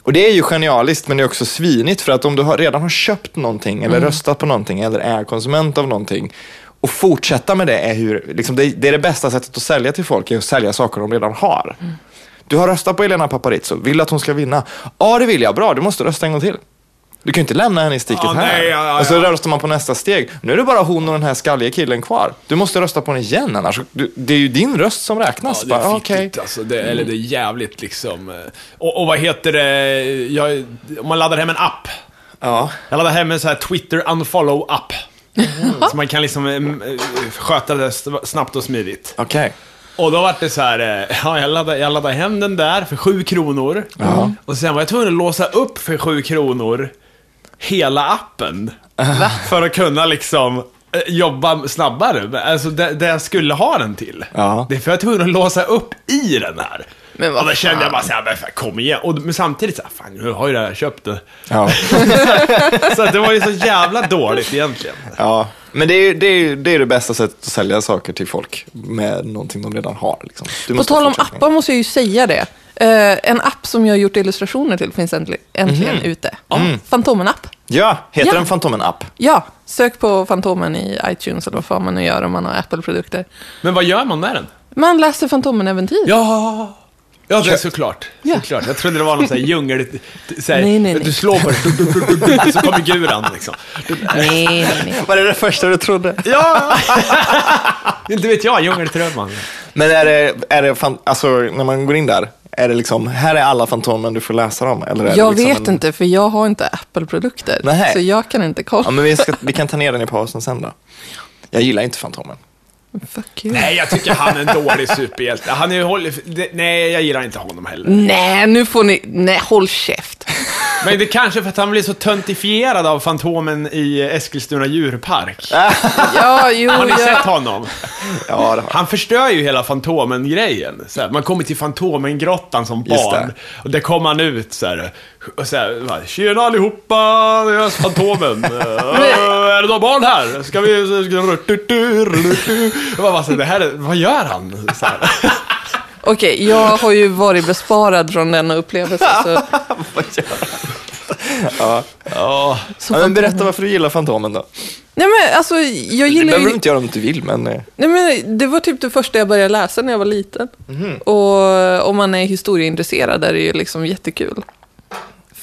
Speaker 2: Och det är ju genialiskt, men det är också svinigt, för att om du har, redan har köpt någonting,
Speaker 1: Mm.
Speaker 2: eller röstat på någonting, eller är konsument av någonting, och fortsätta med det är, hur, liksom det, det är det bästa sättet att sälja till folk, är att sälja saker de redan har.
Speaker 1: Mm.
Speaker 2: Du har röstat på Elena Paparizou, vill du att hon ska vinna? Ja, det vill jag. Bra, du måste rösta en gång till. Du kan ju inte lämna henne i sticket
Speaker 1: Ja,
Speaker 2: här.
Speaker 1: nej, ja, ja,
Speaker 2: och så
Speaker 1: ja.
Speaker 2: röstar man på nästa steg. Nu är det bara hon och den här skallige killen kvar. Du måste rösta på henne igen, annars du, det är ju din röst som räknas.
Speaker 1: Ja, det
Speaker 2: Bara,
Speaker 1: är
Speaker 2: okej.
Speaker 1: fittigt alltså. Det, eller det är jävligt liksom. eh, Och, och vad heter det? Jag, om man laddar hem en app.
Speaker 2: Ja.
Speaker 1: Jag laddar hem en så här Twitter unfollow-app.
Speaker 2: Mm.
Speaker 1: Så man kan liksom em, eh, sköta det s- snabbt och smidigt.
Speaker 2: Okej.
Speaker 1: Och då var det så här, eh, ja, jag laddade, jag laddade hem den där för sju kronor. Och sen var jag tvungen att låsa upp för sju kronor hela appen. För att kunna liksom eh, jobba snabbare. Alltså det, det jag skulle ha den till.
Speaker 2: Ja.
Speaker 1: Det är för att jag var tvungen att låsa upp i den här.
Speaker 3: Men vad
Speaker 1: och då kände jag
Speaker 3: fan.
Speaker 1: bara såhär, men fan, kom igen. Och, men samtidigt såhär, fan nu har ju det här köpt det.
Speaker 2: Ja.
Speaker 1: Så att det var ju så jävla dåligt egentligen.
Speaker 2: ja. Men det är, ju- det, är, ju- det är det bästa sättet att sälja saker till folk med någonting de redan har. Liksom. Du
Speaker 3: På
Speaker 2: måste
Speaker 3: tal om
Speaker 2: fortsätta.
Speaker 3: appar måste jag ju säga det. Eh, en app som jag har gjort illustrationer till finns äntli- äntligen
Speaker 2: Mhm.
Speaker 3: ute. Ja,
Speaker 2: Mm.
Speaker 3: Fantomen-app.
Speaker 2: Ja, heter
Speaker 3: Ja.
Speaker 2: den Fantomen-app?
Speaker 3: Ja, sök på Fantomen i iTunes eller vad fan man nu gör om man har Apple-produkter.
Speaker 1: Men vad gör man med den?
Speaker 3: Man läser Fantomen-äventyr.
Speaker 1: Ja, ja det är såklart.
Speaker 3: Ja.
Speaker 1: såklart. Jag trodde det var någon sån här djungel... Så här,
Speaker 3: Nej, nej, nej.
Speaker 1: Du slår på det, du, du, du, du, så kommer guran liksom.
Speaker 3: Nej, nej, nej.
Speaker 2: Var det det första du trodde?
Speaker 1: Ja! Inte vet jag, djungeltrumman.
Speaker 2: Men är det, är det fan, alltså, när man går in där, är det liksom, här är alla Fantomen, du får läsa dem? Eller är
Speaker 3: Jag
Speaker 2: det liksom
Speaker 3: vet
Speaker 2: en...
Speaker 3: inte, för jag har inte Apple-produkter.
Speaker 2: Nej.
Speaker 3: Så jag kan inte kolla.
Speaker 2: Ja, men vi, ska, vi kan ta ner den i pausen sen då. Jag gillar inte Fantomen.
Speaker 3: Fuck you.
Speaker 1: Nej, jag tycker han är en dålig superhjälte. Han är ju håll... det- Nej, jag gillar inte honom heller.
Speaker 3: Nej, nu får ni... Nej, håll käft.
Speaker 1: Men det är kanske för att han blir så töntifierad av Fantomen i Eskilstuna djurpark.
Speaker 3: Äh, Ja, jo,
Speaker 1: Har ni sett
Speaker 3: jag...
Speaker 1: honom?
Speaker 2: Ja, det har
Speaker 1: Han förstör ju hela Fantomen-grejen. Så här, man kommer till Fantomen-grottan som
Speaker 2: Just
Speaker 1: barn.
Speaker 2: det.
Speaker 1: Och där kommer han ut så här, och så här, va, Tjena allihopa, det är jag, Fantomen. Eh, är det några barn här? Ska vi... Och man bara, så här, det här, är- vad gör han? Så här.
Speaker 3: Okej, jag har ju varit besparad från denna upplevelse. Så...
Speaker 1: Ja.
Speaker 3: så
Speaker 2: ja, men berätta varför du gillar Fantomen då.
Speaker 3: Nej, men alltså, jag
Speaker 2: Det
Speaker 3: gillar
Speaker 2: behöver du
Speaker 3: ju...
Speaker 2: inte göra om du vill, men... eh,
Speaker 3: Nej, men det var typ det första jag började läsa när jag var
Speaker 2: Mhm.
Speaker 3: eh, liten. Och om man är historieintresserad är det ju liksom jättekul.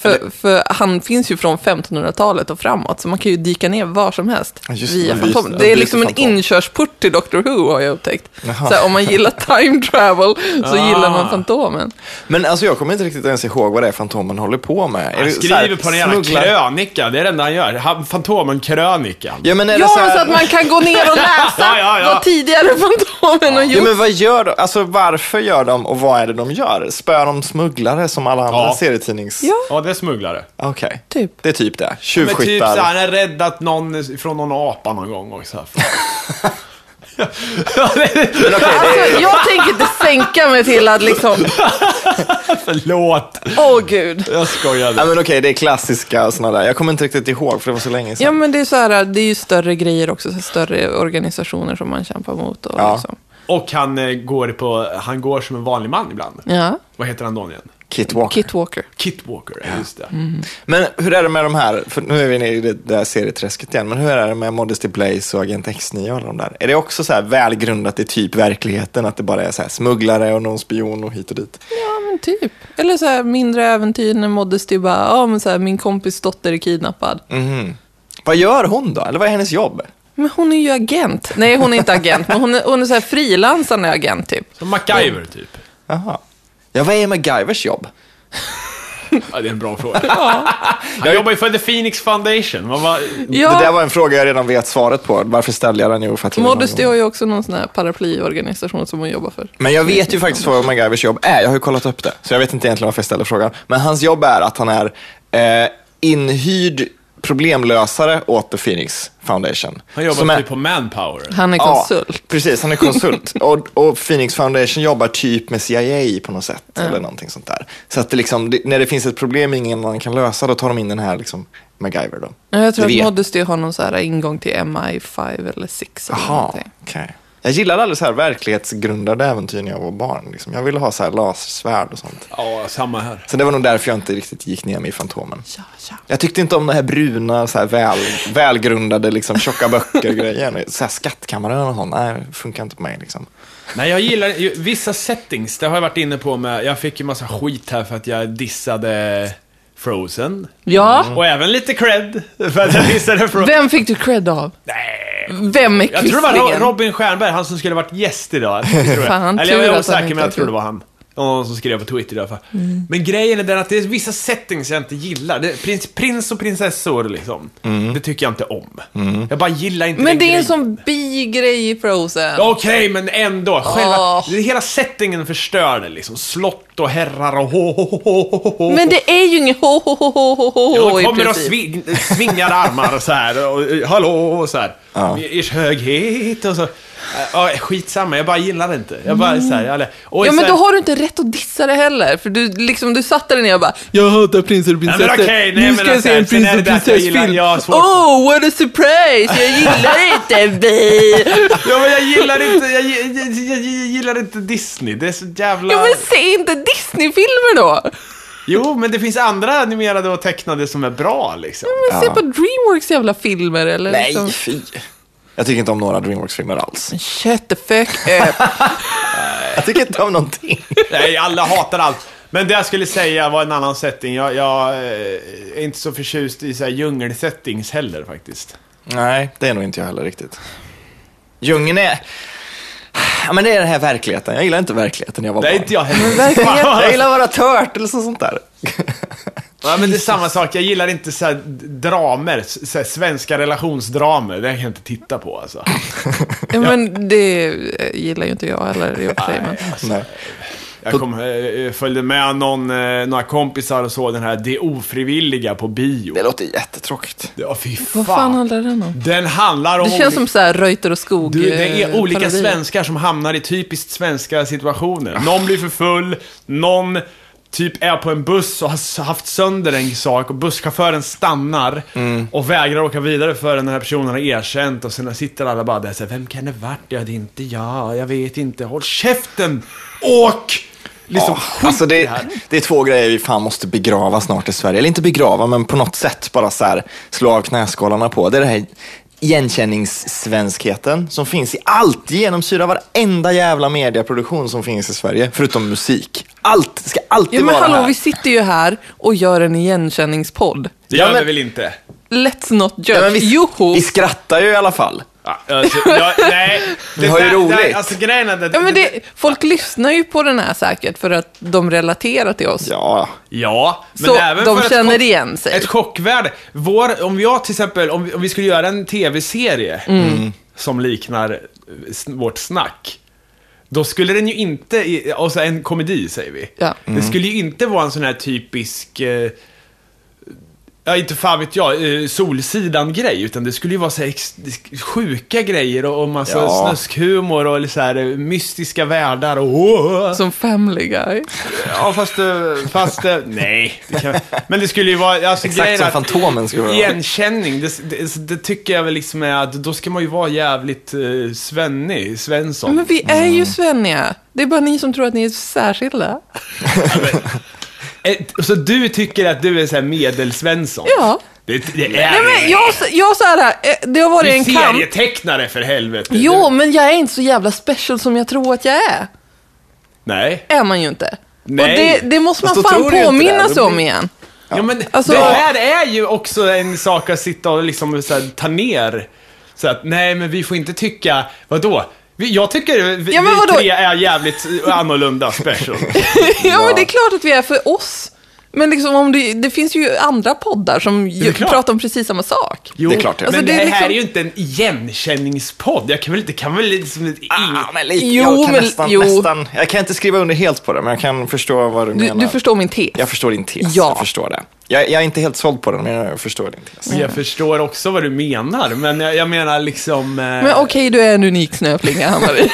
Speaker 3: För, för han finns ju från 1500-talet och framåt, så man kan ju dyka ner var som helst
Speaker 2: Ja, just det,
Speaker 3: via
Speaker 2: man
Speaker 3: Fantomen.
Speaker 2: byter-
Speaker 3: Det är
Speaker 2: byter
Speaker 3: liksom en
Speaker 2: Fantomen.
Speaker 3: inkörsport till Doctor Who, har jag upptäckt.
Speaker 2: Jaha.
Speaker 3: Så här, om man gillar time travel så gillar man Fantomen.
Speaker 2: Men alltså jag kommer inte riktigt ens ihåg vad det är Fantomen håller på med. Är
Speaker 1: Han
Speaker 2: det så här,
Speaker 1: skriver på en jävla
Speaker 2: smugglar-
Speaker 1: krönika, det är det enda han gör. Han- Fantomen-krönikan.
Speaker 2: Ja, men är det
Speaker 3: Ja,
Speaker 2: så, här...
Speaker 3: så att man kan gå ner och läsa
Speaker 1: Ja, ja, ja.
Speaker 3: vad tidigare Fantomen har
Speaker 2: Ja,
Speaker 3: gjort.
Speaker 2: men vad gör de? Alltså varför gör de och vad är det de gör? Spöar de smugglare som alla andra
Speaker 1: Ja.
Speaker 2: serietidnings...
Speaker 3: Ja.
Speaker 1: Ja, det är smugglare.
Speaker 2: Okej.
Speaker 3: Typ.
Speaker 2: Det är typ det.
Speaker 1: Men typ
Speaker 2: Tjuvskyttar.
Speaker 1: så han har räddat någon från någon apa någon gång också.
Speaker 2: Men okej, det
Speaker 3: Alltså, jag tänker inte sänka mig till att liksom,
Speaker 1: Förlåt,
Speaker 3: åh gud.
Speaker 1: jag
Speaker 2: Ja,
Speaker 1: skojade.
Speaker 2: men okej, det är klassiska sådana där. Jag kommer inte riktigt ihåg för det var så länge sedan.
Speaker 3: Ja, men det är, så här, det är ju större grejer också, så här, större organisationer som man kämpar mot. Och
Speaker 2: Ja.
Speaker 3: Liksom.
Speaker 1: Och han eh, går, på, han går som en vanlig man ibland.
Speaker 3: ja.
Speaker 1: Vad heter han då igen?
Speaker 2: Kit Walker.
Speaker 3: Kit Walker.
Speaker 1: Kit Walker, ja. just det.
Speaker 2: Men hur är det med de här, för nu är vi nere i det där serieträsket igen, men hur är det med Modesty Blaze och Agent X9 och alla de där? Är det också så här välgrundat i typ verkligheten, att det bara är så här smugglare och någon spion och hit och dit?
Speaker 3: Ja, men typ. Eller så här mindre äventyr när Modesty bara, ja men så här, min kompis dotter är kidnappad.
Speaker 2: Mm. Vad gör hon då? Eller vad är hennes jobb?
Speaker 3: Men hon är ju agent. Nej, hon är inte agent, men hon är, hon är så här frilansande agent typ.
Speaker 1: Som MacGyver, typ.
Speaker 2: Jaha. Ja, vad är MacGyvers jobb?
Speaker 1: Ja, det är en bra fråga. Han jobbar ju för The Phoenix Foundation. Man bara,
Speaker 2: Det där
Speaker 3: Ja,
Speaker 2: var en fråga jag redan vet svaret på. Varför ställde jag den? Jo, för att jag vill ha
Speaker 3: Modesty
Speaker 2: någon-
Speaker 3: har ju också någon sån här paraplyorganisation som hon jobbar för.
Speaker 2: Men jag vet ju faktiskt vad MacGyvers jobb är. Jag har ju kollat upp det. Så jag vet inte egentligen varför jag ställer frågan. Men hans jobb är att han är eh, inhyrd problemlösare åt The Phoenix Foundation.
Speaker 1: han jobbar
Speaker 2: Som är-
Speaker 1: typ på manpower.
Speaker 3: Han är konsult.
Speaker 2: Ja, precis. Han är konsult. och, och Phoenix Foundation jobbar typ med CIA på något sätt. Eller någonting sånt där. Så att det liksom, det, när det finns ett problem ingen annan kan lösa, då tar de in den här liksom, MacGyver. Då.
Speaker 3: Ja, Jag tror
Speaker 2: Det
Speaker 3: att
Speaker 2: vet-
Speaker 3: Modesty har någon så här ingång till MI5 eller 6 eller
Speaker 2: Jaha,
Speaker 3: någonting.
Speaker 2: okej. Jag gillade aldrig så här verklighetsgrundade äventyr när jag var barn. Liksom. Jag ville ha så här lasersvärd och sånt.
Speaker 1: Ja, samma här.
Speaker 2: Så det var nog därför jag inte riktigt gick ner mig i Fantomen.
Speaker 3: Ja, ja.
Speaker 2: Jag tyckte inte om den här bruna, så här väl, välgrundade, liksom, tjocka böcker-grejen. Så här skattkammaren och sånt, nej, det funkar inte på mig. Liksom.
Speaker 1: Nej, jag gillar ju, vissa settings, det har jag varit inne på med, jag fick ju massa skit här för att jag dissade Frozen.
Speaker 3: Ja,
Speaker 2: Mm.
Speaker 1: Och även lite cred för att jag dissade Frozen.
Speaker 3: vem fick du cred av?
Speaker 1: Nej.
Speaker 3: Vem är
Speaker 1: Jag tror det var Ro-
Speaker 3: Quisling?
Speaker 1: Robin Stjernberg, han som skulle varit gäst idag. tror jag.
Speaker 3: Fan,
Speaker 1: Eller jag
Speaker 3: tur
Speaker 1: är
Speaker 3: att
Speaker 1: osäker,
Speaker 3: han inte Mm.
Speaker 1: men jag
Speaker 3: åkte
Speaker 1: tror det
Speaker 3: upp.
Speaker 1: var han. Någon som skrev på Twitter i alla fall. Men grejen är den att det är vissa settings jag inte gillar. Det är prins, prins och prinsessor liksom. Det tycker jag inte om. Jag bara gillar inte
Speaker 3: Men
Speaker 1: den
Speaker 3: det är en
Speaker 1: grejen.
Speaker 3: sån bigrej i Frozen.
Speaker 1: Okej, men ändå. Själva,
Speaker 3: Åh.
Speaker 1: det- Hela settingen förstör det liksom. Slott och herrar och ho, ho, ho, ho, ho, ho.
Speaker 3: Men det är ju inget ho ho ho ho ho
Speaker 1: Jo,
Speaker 3: ho
Speaker 1: de
Speaker 3: i
Speaker 1: kommer och
Speaker 3: princip.
Speaker 1: sving, svingar armar och så här. Och, eh, hallå och så här.
Speaker 2: Ja.
Speaker 1: Ers höghet och så. Eh, Ja, skitsamma, jag bara gillar det inte. Jag bara så här, jag, och
Speaker 3: Ja,
Speaker 1: så
Speaker 3: men
Speaker 1: här,
Speaker 3: då har du inte rätt att dissa det heller. För du, liksom, du satte dig ner och bara Jag hatar prinsar och
Speaker 1: men
Speaker 3: prinsessor.
Speaker 1: okej, nej,
Speaker 3: nu
Speaker 1: men
Speaker 3: ska jag
Speaker 1: alltså,
Speaker 3: se en
Speaker 1: sen är
Speaker 3: prins
Speaker 1: det
Speaker 3: och
Speaker 1: därför jag gillar-
Speaker 3: prinsessfilm.
Speaker 1: jag har svårt-
Speaker 3: Oh, what a surprise! Jag gillar inte vi.
Speaker 1: Ja, men jag gillar inte, jag, jag, jag, jag gillar inte Disney. Det är så jävla...
Speaker 3: Ja, men se inte Disney-filmer då!
Speaker 1: Jo, men det finns andra animerade och tecknade som är bra liksom.
Speaker 3: Men se på Dreamworks jävla filmer eller liksom...
Speaker 2: Nej, fy. Jag tycker inte om några Dreamworks-filmer alls.
Speaker 3: Shut the fuck up.
Speaker 2: Jag tycker inte om någonting.
Speaker 1: Nej, alla hatar allt. Men det jag skulle säga var en annan setting. Jag, jag eh, är inte så förtjust i så här djungelsettings heller faktiskt.
Speaker 2: Nej, det är nog inte jag heller riktigt. Djungeln är... Ja, men det är den här verkligheten. Jag gillar inte verkligheten när jag var
Speaker 1: Det
Speaker 2: barn.
Speaker 1: är inte jag heller.
Speaker 3: verkligheten-
Speaker 2: Jag gillar att vara tört eller så- sånt där.
Speaker 1: Ja, men det är samma sak. Jag gillar inte så här dramer, s- så här svenska relationsdramer. Det kan jag inte titta på alltså.
Speaker 3: Ja, men det eh, gillar ju inte jag heller i och för sig. Men...
Speaker 2: Nej.
Speaker 1: Jag kom, eh, följde med någon, eh, några kompisar och såg den här Det ofrivilliga på bio.
Speaker 2: Det låter jättetråkigt.
Speaker 1: Ja, fy fan.
Speaker 3: Vad fan handlar den om?
Speaker 1: Den handlar om...
Speaker 3: Det känns som så här Reuter och Skog.
Speaker 1: Du, det
Speaker 3: eh,
Speaker 1: är olika
Speaker 3: parodier.
Speaker 1: svenskar som hamnar i typiskt svenska situationer. Någon blir för full, någon typ är på en buss och har s- haft sönder en sak och busschauffören stannar
Speaker 3: Mm.
Speaker 1: och vägrar åka vidare förrän den här personen har erkänt och sen sitter alla bara där och säger Vem kan det varit? Ja, det är inte jag. Jag vet inte. Håll käften! Åk! Liksom,
Speaker 3: Ah.
Speaker 1: skit
Speaker 2: Alltså
Speaker 1: i
Speaker 2: det,
Speaker 1: det här.
Speaker 2: det är två grejer vi fan måste begrava snart i Sverige. Eller inte begrava, men på något sätt bara så här, slå av knäskålarna på. Det är det här igenkänningssvenskheten som finns i allt, genomsyrar varenda jävla mediaproduktion som finns i Sverige, förutom musik. Allt, det ska alltid
Speaker 3: Ja, men
Speaker 2: vara
Speaker 3: hallå,
Speaker 2: här.
Speaker 3: vi sitter ju här och gör en igenkänningspodd.
Speaker 1: Det
Speaker 2: Ja,
Speaker 1: gör vi
Speaker 2: men-
Speaker 1: väl inte?
Speaker 3: Let's not judge.
Speaker 2: Ja, men vi,
Speaker 3: Joho!
Speaker 2: vi skrattar ju i alla fall.
Speaker 1: Ja, alltså, jag, nej.
Speaker 2: Vi har ju
Speaker 1: där-
Speaker 2: roligt.
Speaker 1: där- Alltså grejen är att-
Speaker 3: Ja, men det, folk lyssnar ju på den här säkert för att de relaterar till oss.
Speaker 2: Ja,
Speaker 1: Ja, men
Speaker 3: Så
Speaker 1: även
Speaker 3: de
Speaker 1: för ett
Speaker 3: känner
Speaker 1: chock-
Speaker 3: igen sig.
Speaker 1: Ett chockvärde. Vår, om jag till exempel, om vi, om vi skulle göra en tv-serie som liknar eh, s- vårt snack. Då skulle den ju inte, i- alltså en komedi säger vi.
Speaker 3: Ja.
Speaker 1: Det skulle ju inte vara en sån här typisk, eh, ja inte fan vet jag, eh, Solsidan-grej. Utan det skulle ju vara så här ex, sjuka grejer och, och massa
Speaker 2: Ja.
Speaker 1: snuskhumor och eller så här eh, mystiska världar och åh.
Speaker 3: Som family guy.
Speaker 1: Ja, fast, eh, fast eh, nej. Det kan, men det skulle ju vara... Alltså,
Speaker 2: Exakt
Speaker 1: grejen
Speaker 2: som
Speaker 1: är att
Speaker 2: Fantomen skulle vara.
Speaker 1: Igenkänning, det, alltså, det, det tycker jag väl liksom är att då ska man ju vara jävligt eh, svennig, Svensson.
Speaker 2: Mm.
Speaker 3: Men vi är ju svenniga. Det är bara ni som tror att ni är särskilda.
Speaker 1: Alltså, Eh, Så du tycker att du är såhär medelsvensson?
Speaker 3: Ja.
Speaker 1: Det, det är
Speaker 3: Nej, men jag, jag så här, eh, det
Speaker 1: Du
Speaker 3: har varit
Speaker 1: är
Speaker 3: en kamp.
Speaker 1: serietecknare för helvete.
Speaker 3: Jo,
Speaker 1: Du,
Speaker 3: men jag är inte så jävla special som jag tror att jag är.
Speaker 1: nej.
Speaker 3: Är man ju inte. Och
Speaker 1: Nej.
Speaker 3: det, det måste man
Speaker 2: Fast då
Speaker 3: fan
Speaker 2: tror du ju inte det.
Speaker 3: påminna sig
Speaker 2: Då
Speaker 3: om
Speaker 2: blir-
Speaker 3: igen.
Speaker 1: Ja, men
Speaker 3: Alltså-
Speaker 1: det här är ju också en sak att sitta och liksom så här, ta ner. Så att, nej men vi får inte tycka, vadå? Vi, jag tycker vi,
Speaker 3: Ja, men
Speaker 1: vi
Speaker 3: vadå?
Speaker 1: tre är jävligt annorlunda special.
Speaker 3: Ja, men det är klart att vi är för oss. Men liksom, om det, det finns ju andra poddar som ju,
Speaker 1: klart.
Speaker 3: pratar om precis samma sak.
Speaker 1: Jo,
Speaker 2: Det är klart det är.
Speaker 1: Men
Speaker 3: Alltså,
Speaker 1: det,
Speaker 3: det är
Speaker 1: här
Speaker 3: liksom-
Speaker 1: är ju inte en igenkänningspodd. Jag kan väl inte, kan väl liksom inte...
Speaker 2: Ah, men lite.
Speaker 3: Jo,
Speaker 2: jag kan
Speaker 3: men-
Speaker 2: nästan,
Speaker 3: jo.
Speaker 2: nästan, jag kan inte skriva under helt på det, men jag kan förstå vad du,
Speaker 3: Du,
Speaker 2: menar.
Speaker 3: du förstår min tes.
Speaker 2: Jag förstår din tes,
Speaker 3: Ja.
Speaker 2: jag förstår det. Jag, jag är inte helt såld på den, men jag förstår din tes.
Speaker 1: Jag förstår också vad du menar, men jag, jag menar liksom... eh,
Speaker 3: Men okej, du är en unik snöflinga, Hammarin.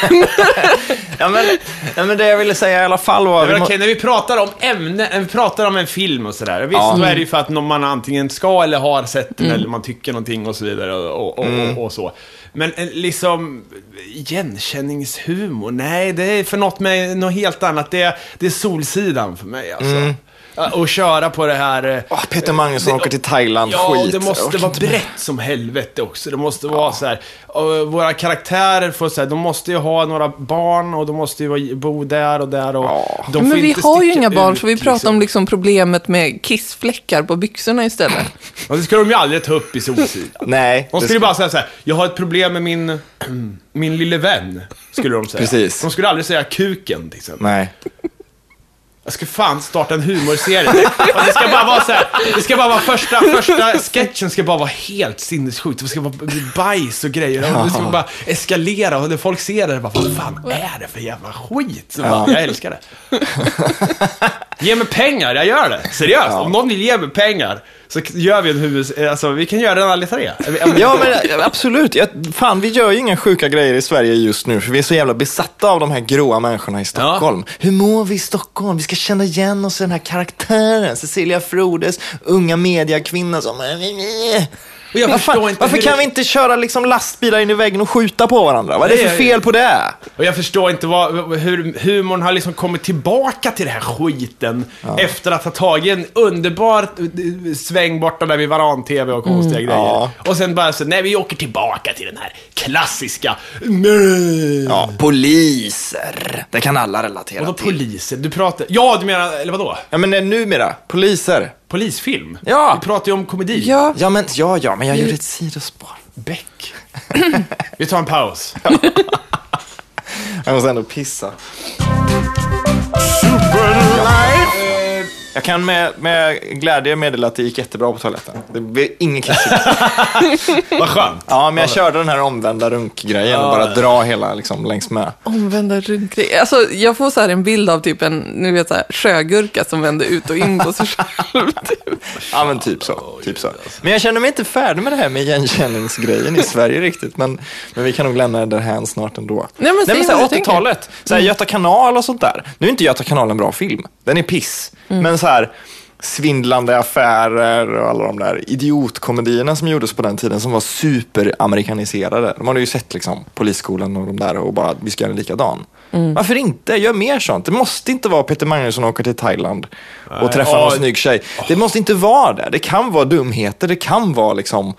Speaker 2: Ja, men, ja, men det jag ville säga i alla fall var...
Speaker 1: Ja,
Speaker 2: vi
Speaker 1: men
Speaker 2: må-
Speaker 1: okej, när vi pratar om ämne, när vi pratar om en film och sådär. Visst,
Speaker 2: Ja. Mm.
Speaker 1: då är det ju för att någon man antingen ska eller har sett den eller man tycker någonting och så vidare och, och,
Speaker 2: Mm.
Speaker 1: och, och så. Men eh, liksom, igenkänningshumor, nej, det är för något med något helt annat. Det är, det är Solsidan för mig alltså.
Speaker 2: Mm.
Speaker 1: Ja, Och köra på det här... eh,
Speaker 2: Åh, Peter Magnusson åker till Thailand,
Speaker 1: Ja,
Speaker 2: skit.
Speaker 1: det
Speaker 2: Jag
Speaker 1: måste
Speaker 2: orkar
Speaker 1: vara
Speaker 2: inte
Speaker 1: brett som helvete också. Det måste vara så här. och Våra karaktärer får så här, de måste ju ha några barn och de måste ju vara- bo där och där och...
Speaker 2: Ja.
Speaker 1: De får
Speaker 3: Men vi
Speaker 1: inte
Speaker 3: har ju
Speaker 1: sticka
Speaker 3: inga barn,
Speaker 1: ut,
Speaker 3: så vi pratar om liksom problemet med kissfläckar på byxorna istället.
Speaker 1: Ja, det ska de ju aldrig ta upp i Solsidan.
Speaker 2: Nej.
Speaker 1: De
Speaker 2: det
Speaker 1: skulle
Speaker 2: ska-
Speaker 1: bara säga så här, jag har ett problem med min, min lille vän, skulle de säga.
Speaker 2: Precis.
Speaker 1: De skulle aldrig säga kuken, till exempel.
Speaker 2: Nej.
Speaker 1: Jag ska fan starta en humorserie. Och det ska bara vara så här, det ska bara vara första, första sketchen ska bara vara helt sinnessjukt. Det ska vara bajs och grejer. Och det ska bara eskalera och när folk ser det, bara, vad fan är det för jävla skit? Så bara, Jag älskar det. Ge mig pengar, jag gör det. Seriöst, om någon vill ge mig pengar så gör vi en huvud... Alltså, vi kan göra den alla tre.
Speaker 2: Ja, men absolut. Jag, fan, vi gör ju inga sjuka grejer i Sverige just nu, för vi är så jävla besatta av de här gråa människorna i Stockholm. Hur mår vi i Stockholm? Vi ska känna igen oss i den här karaktären. Cecilia Frodes unga mediakvinna som...
Speaker 1: Och jag
Speaker 2: Vad
Speaker 1: förstår
Speaker 2: fan,
Speaker 1: inte
Speaker 2: varför
Speaker 1: hur
Speaker 2: kan
Speaker 1: det-
Speaker 2: vi inte köra liksom lastbilar in i väggen och skjuta på varandra? Vad är det
Speaker 1: Nej,
Speaker 2: för
Speaker 1: jag-
Speaker 2: fel på det?
Speaker 1: Och jag förstår inte vad, hur humorn har liksom kommit tillbaka till den här skiten efter att ha tagit en underbar eh, sväng borta där vid varan-tv och konstiga grejer.
Speaker 2: Mm. Ja.
Speaker 1: Och sen bara så, nej vi åker tillbaka till den här klassiska...
Speaker 2: Ja,
Speaker 1: Mm.
Speaker 2: poliser. Det kan alla relatera
Speaker 1: Vadå
Speaker 2: till.
Speaker 1: poliser? Du pratar... Ja, du menar, eller vadå?
Speaker 2: Ja, men eh, numera, poliser.
Speaker 1: Polisfilm?
Speaker 2: Ja.
Speaker 1: Vi pratar ju om komedi.
Speaker 3: Ja,
Speaker 2: Ja, men, ja, ja, men jag gjorde ett sidospår.
Speaker 1: Beck. vi tar en paus.
Speaker 2: Jag måste ändå pissa. Jag kan med, med glädje meddela att det gick jättebra på toaletten. Det blev inget kissigt.
Speaker 1: Vad skönt.
Speaker 2: Ja, men jag körde den här omvända runkgrejen och bara dra hela liksom, längs med.
Speaker 3: omvända runkgrejer. Alltså, jag får så här en bild av typ en, nu vet så här, sjögurka som vänder ut och in på sig själv. Typ.
Speaker 2: Ja, men typ så. Typ så. Men jag känner mig inte färdig med det här med igenkänningsgrejen i Sverige riktigt. Men, men vi kan nog lämna det här snart ändå.
Speaker 3: men säg
Speaker 2: så här,
Speaker 3: vad du tänker. Mm.
Speaker 2: 80-talet,
Speaker 3: Mm.
Speaker 2: så här, Göta kanal och sånt där. Nu är inte Göta kanal en bra film. Den är piss. Men så här, svindlande affärer och alla de där idiotkomedierna som gjordes på den tiden som var superamerikaniserade. De hade ju sett liksom Polisskolan och de där och bara, vi ska göra en likadan.
Speaker 3: Mm.
Speaker 2: Varför inte? Gör mer sånt. Det måste inte vara Peter Magnusson åker till Thailand och träffar någon
Speaker 1: Åh.
Speaker 2: snygg tjej. Det måste inte vara det. Det kan vara dumheter, det kan vara liksom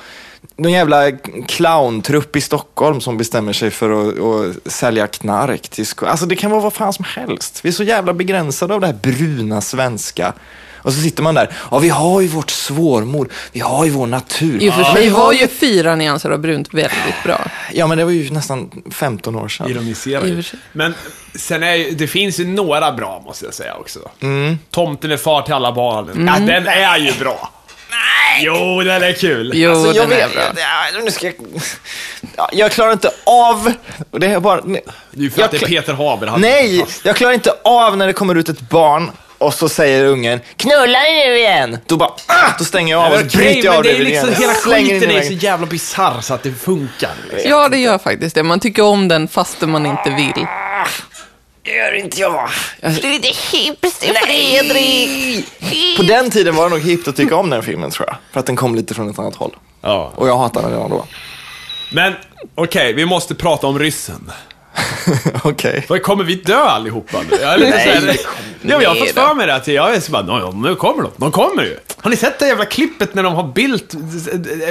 Speaker 2: någon jävla clowntrupp i Stockholm som bestämmer sig för att, att sälja knark till sko- Alltså det kan vara vad fan som helst. Vi är så jävla begränsade av det här bruna svenska. Och så sitter man där, ja vi har ju vårt svårmod, vi har ju vår natur.
Speaker 3: I och för
Speaker 2: Men
Speaker 3: sig
Speaker 2: vi
Speaker 3: var ju fyra nyanser av brunt väldigt bra.
Speaker 2: Ja men det var ju nästan 15 år sedan.
Speaker 1: Ironiserar
Speaker 3: I och
Speaker 1: ju.
Speaker 3: för sig.
Speaker 1: Men sen är ju- det finns ju några bra måste jag säga också. Tomten är far till alla barnen. Ja, den är ju bra. Mm. Nej! Jo, den är kul.
Speaker 3: Jo,
Speaker 2: Alltså, jag
Speaker 3: den är
Speaker 2: vet,
Speaker 3: bra.
Speaker 2: Ja, nu ska jag... Ja, jag klarar inte av... och Det är bara...
Speaker 1: Det är ju för
Speaker 2: Jag
Speaker 1: att det är
Speaker 2: kla-
Speaker 1: Peter Haber. Han
Speaker 2: Nej, jag klarar inte av när det kommer ut ett barn och så säger ungen “Knulla dig nu igen!” Då bara ah! Då stänger jag av och så
Speaker 1: Okej,
Speaker 2: bryter jag
Speaker 1: men
Speaker 2: av
Speaker 1: det är
Speaker 2: DVDn.
Speaker 1: liksom hela
Speaker 2: Slänger in
Speaker 1: skiten
Speaker 2: i
Speaker 1: är så
Speaker 2: väggen.
Speaker 1: jävla bisarr så att det funkar. Liksom.
Speaker 3: Ja, det gör faktiskt det. Man tycker om den fastän man inte vill.
Speaker 2: Ah, Gör inte jag.
Speaker 4: Du är inte hipster Fredrik!
Speaker 2: På den tiden var det nog hippt att tycka om den filmen tror jag. För att den kom lite från ett annat håll.
Speaker 1: Ja.
Speaker 2: Och jag hatade den redan då.
Speaker 1: Men okej, vi måste prata om ryssen.
Speaker 2: Okej.
Speaker 1: Vad kommer vi dö allihopa nu? Jag är lite
Speaker 2: Nej,
Speaker 1: såhär- ja, men jag har fått för mig det. Att jag är så bara, "Nå, ja, nu kommer de. De kommer ju. Har ni sett det jävla klippet när de har Bildt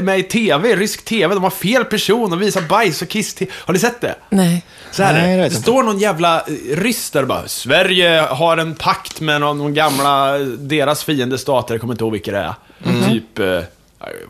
Speaker 1: med i TV, rysk TV? De har fel person och visar bajs och kiss till. Har ni sett det?
Speaker 3: Nej.
Speaker 1: Så här
Speaker 2: Nej,
Speaker 1: är
Speaker 2: det
Speaker 1: det.
Speaker 2: vet
Speaker 1: Det
Speaker 2: jag
Speaker 1: står någon jävla eh, ryss där och bara Sverige har en pakt med någon, någon gamla, eh, deras fiendestater, jag kommer inte ihåg vilka det är.
Speaker 2: Mhm.
Speaker 1: Typ, eh,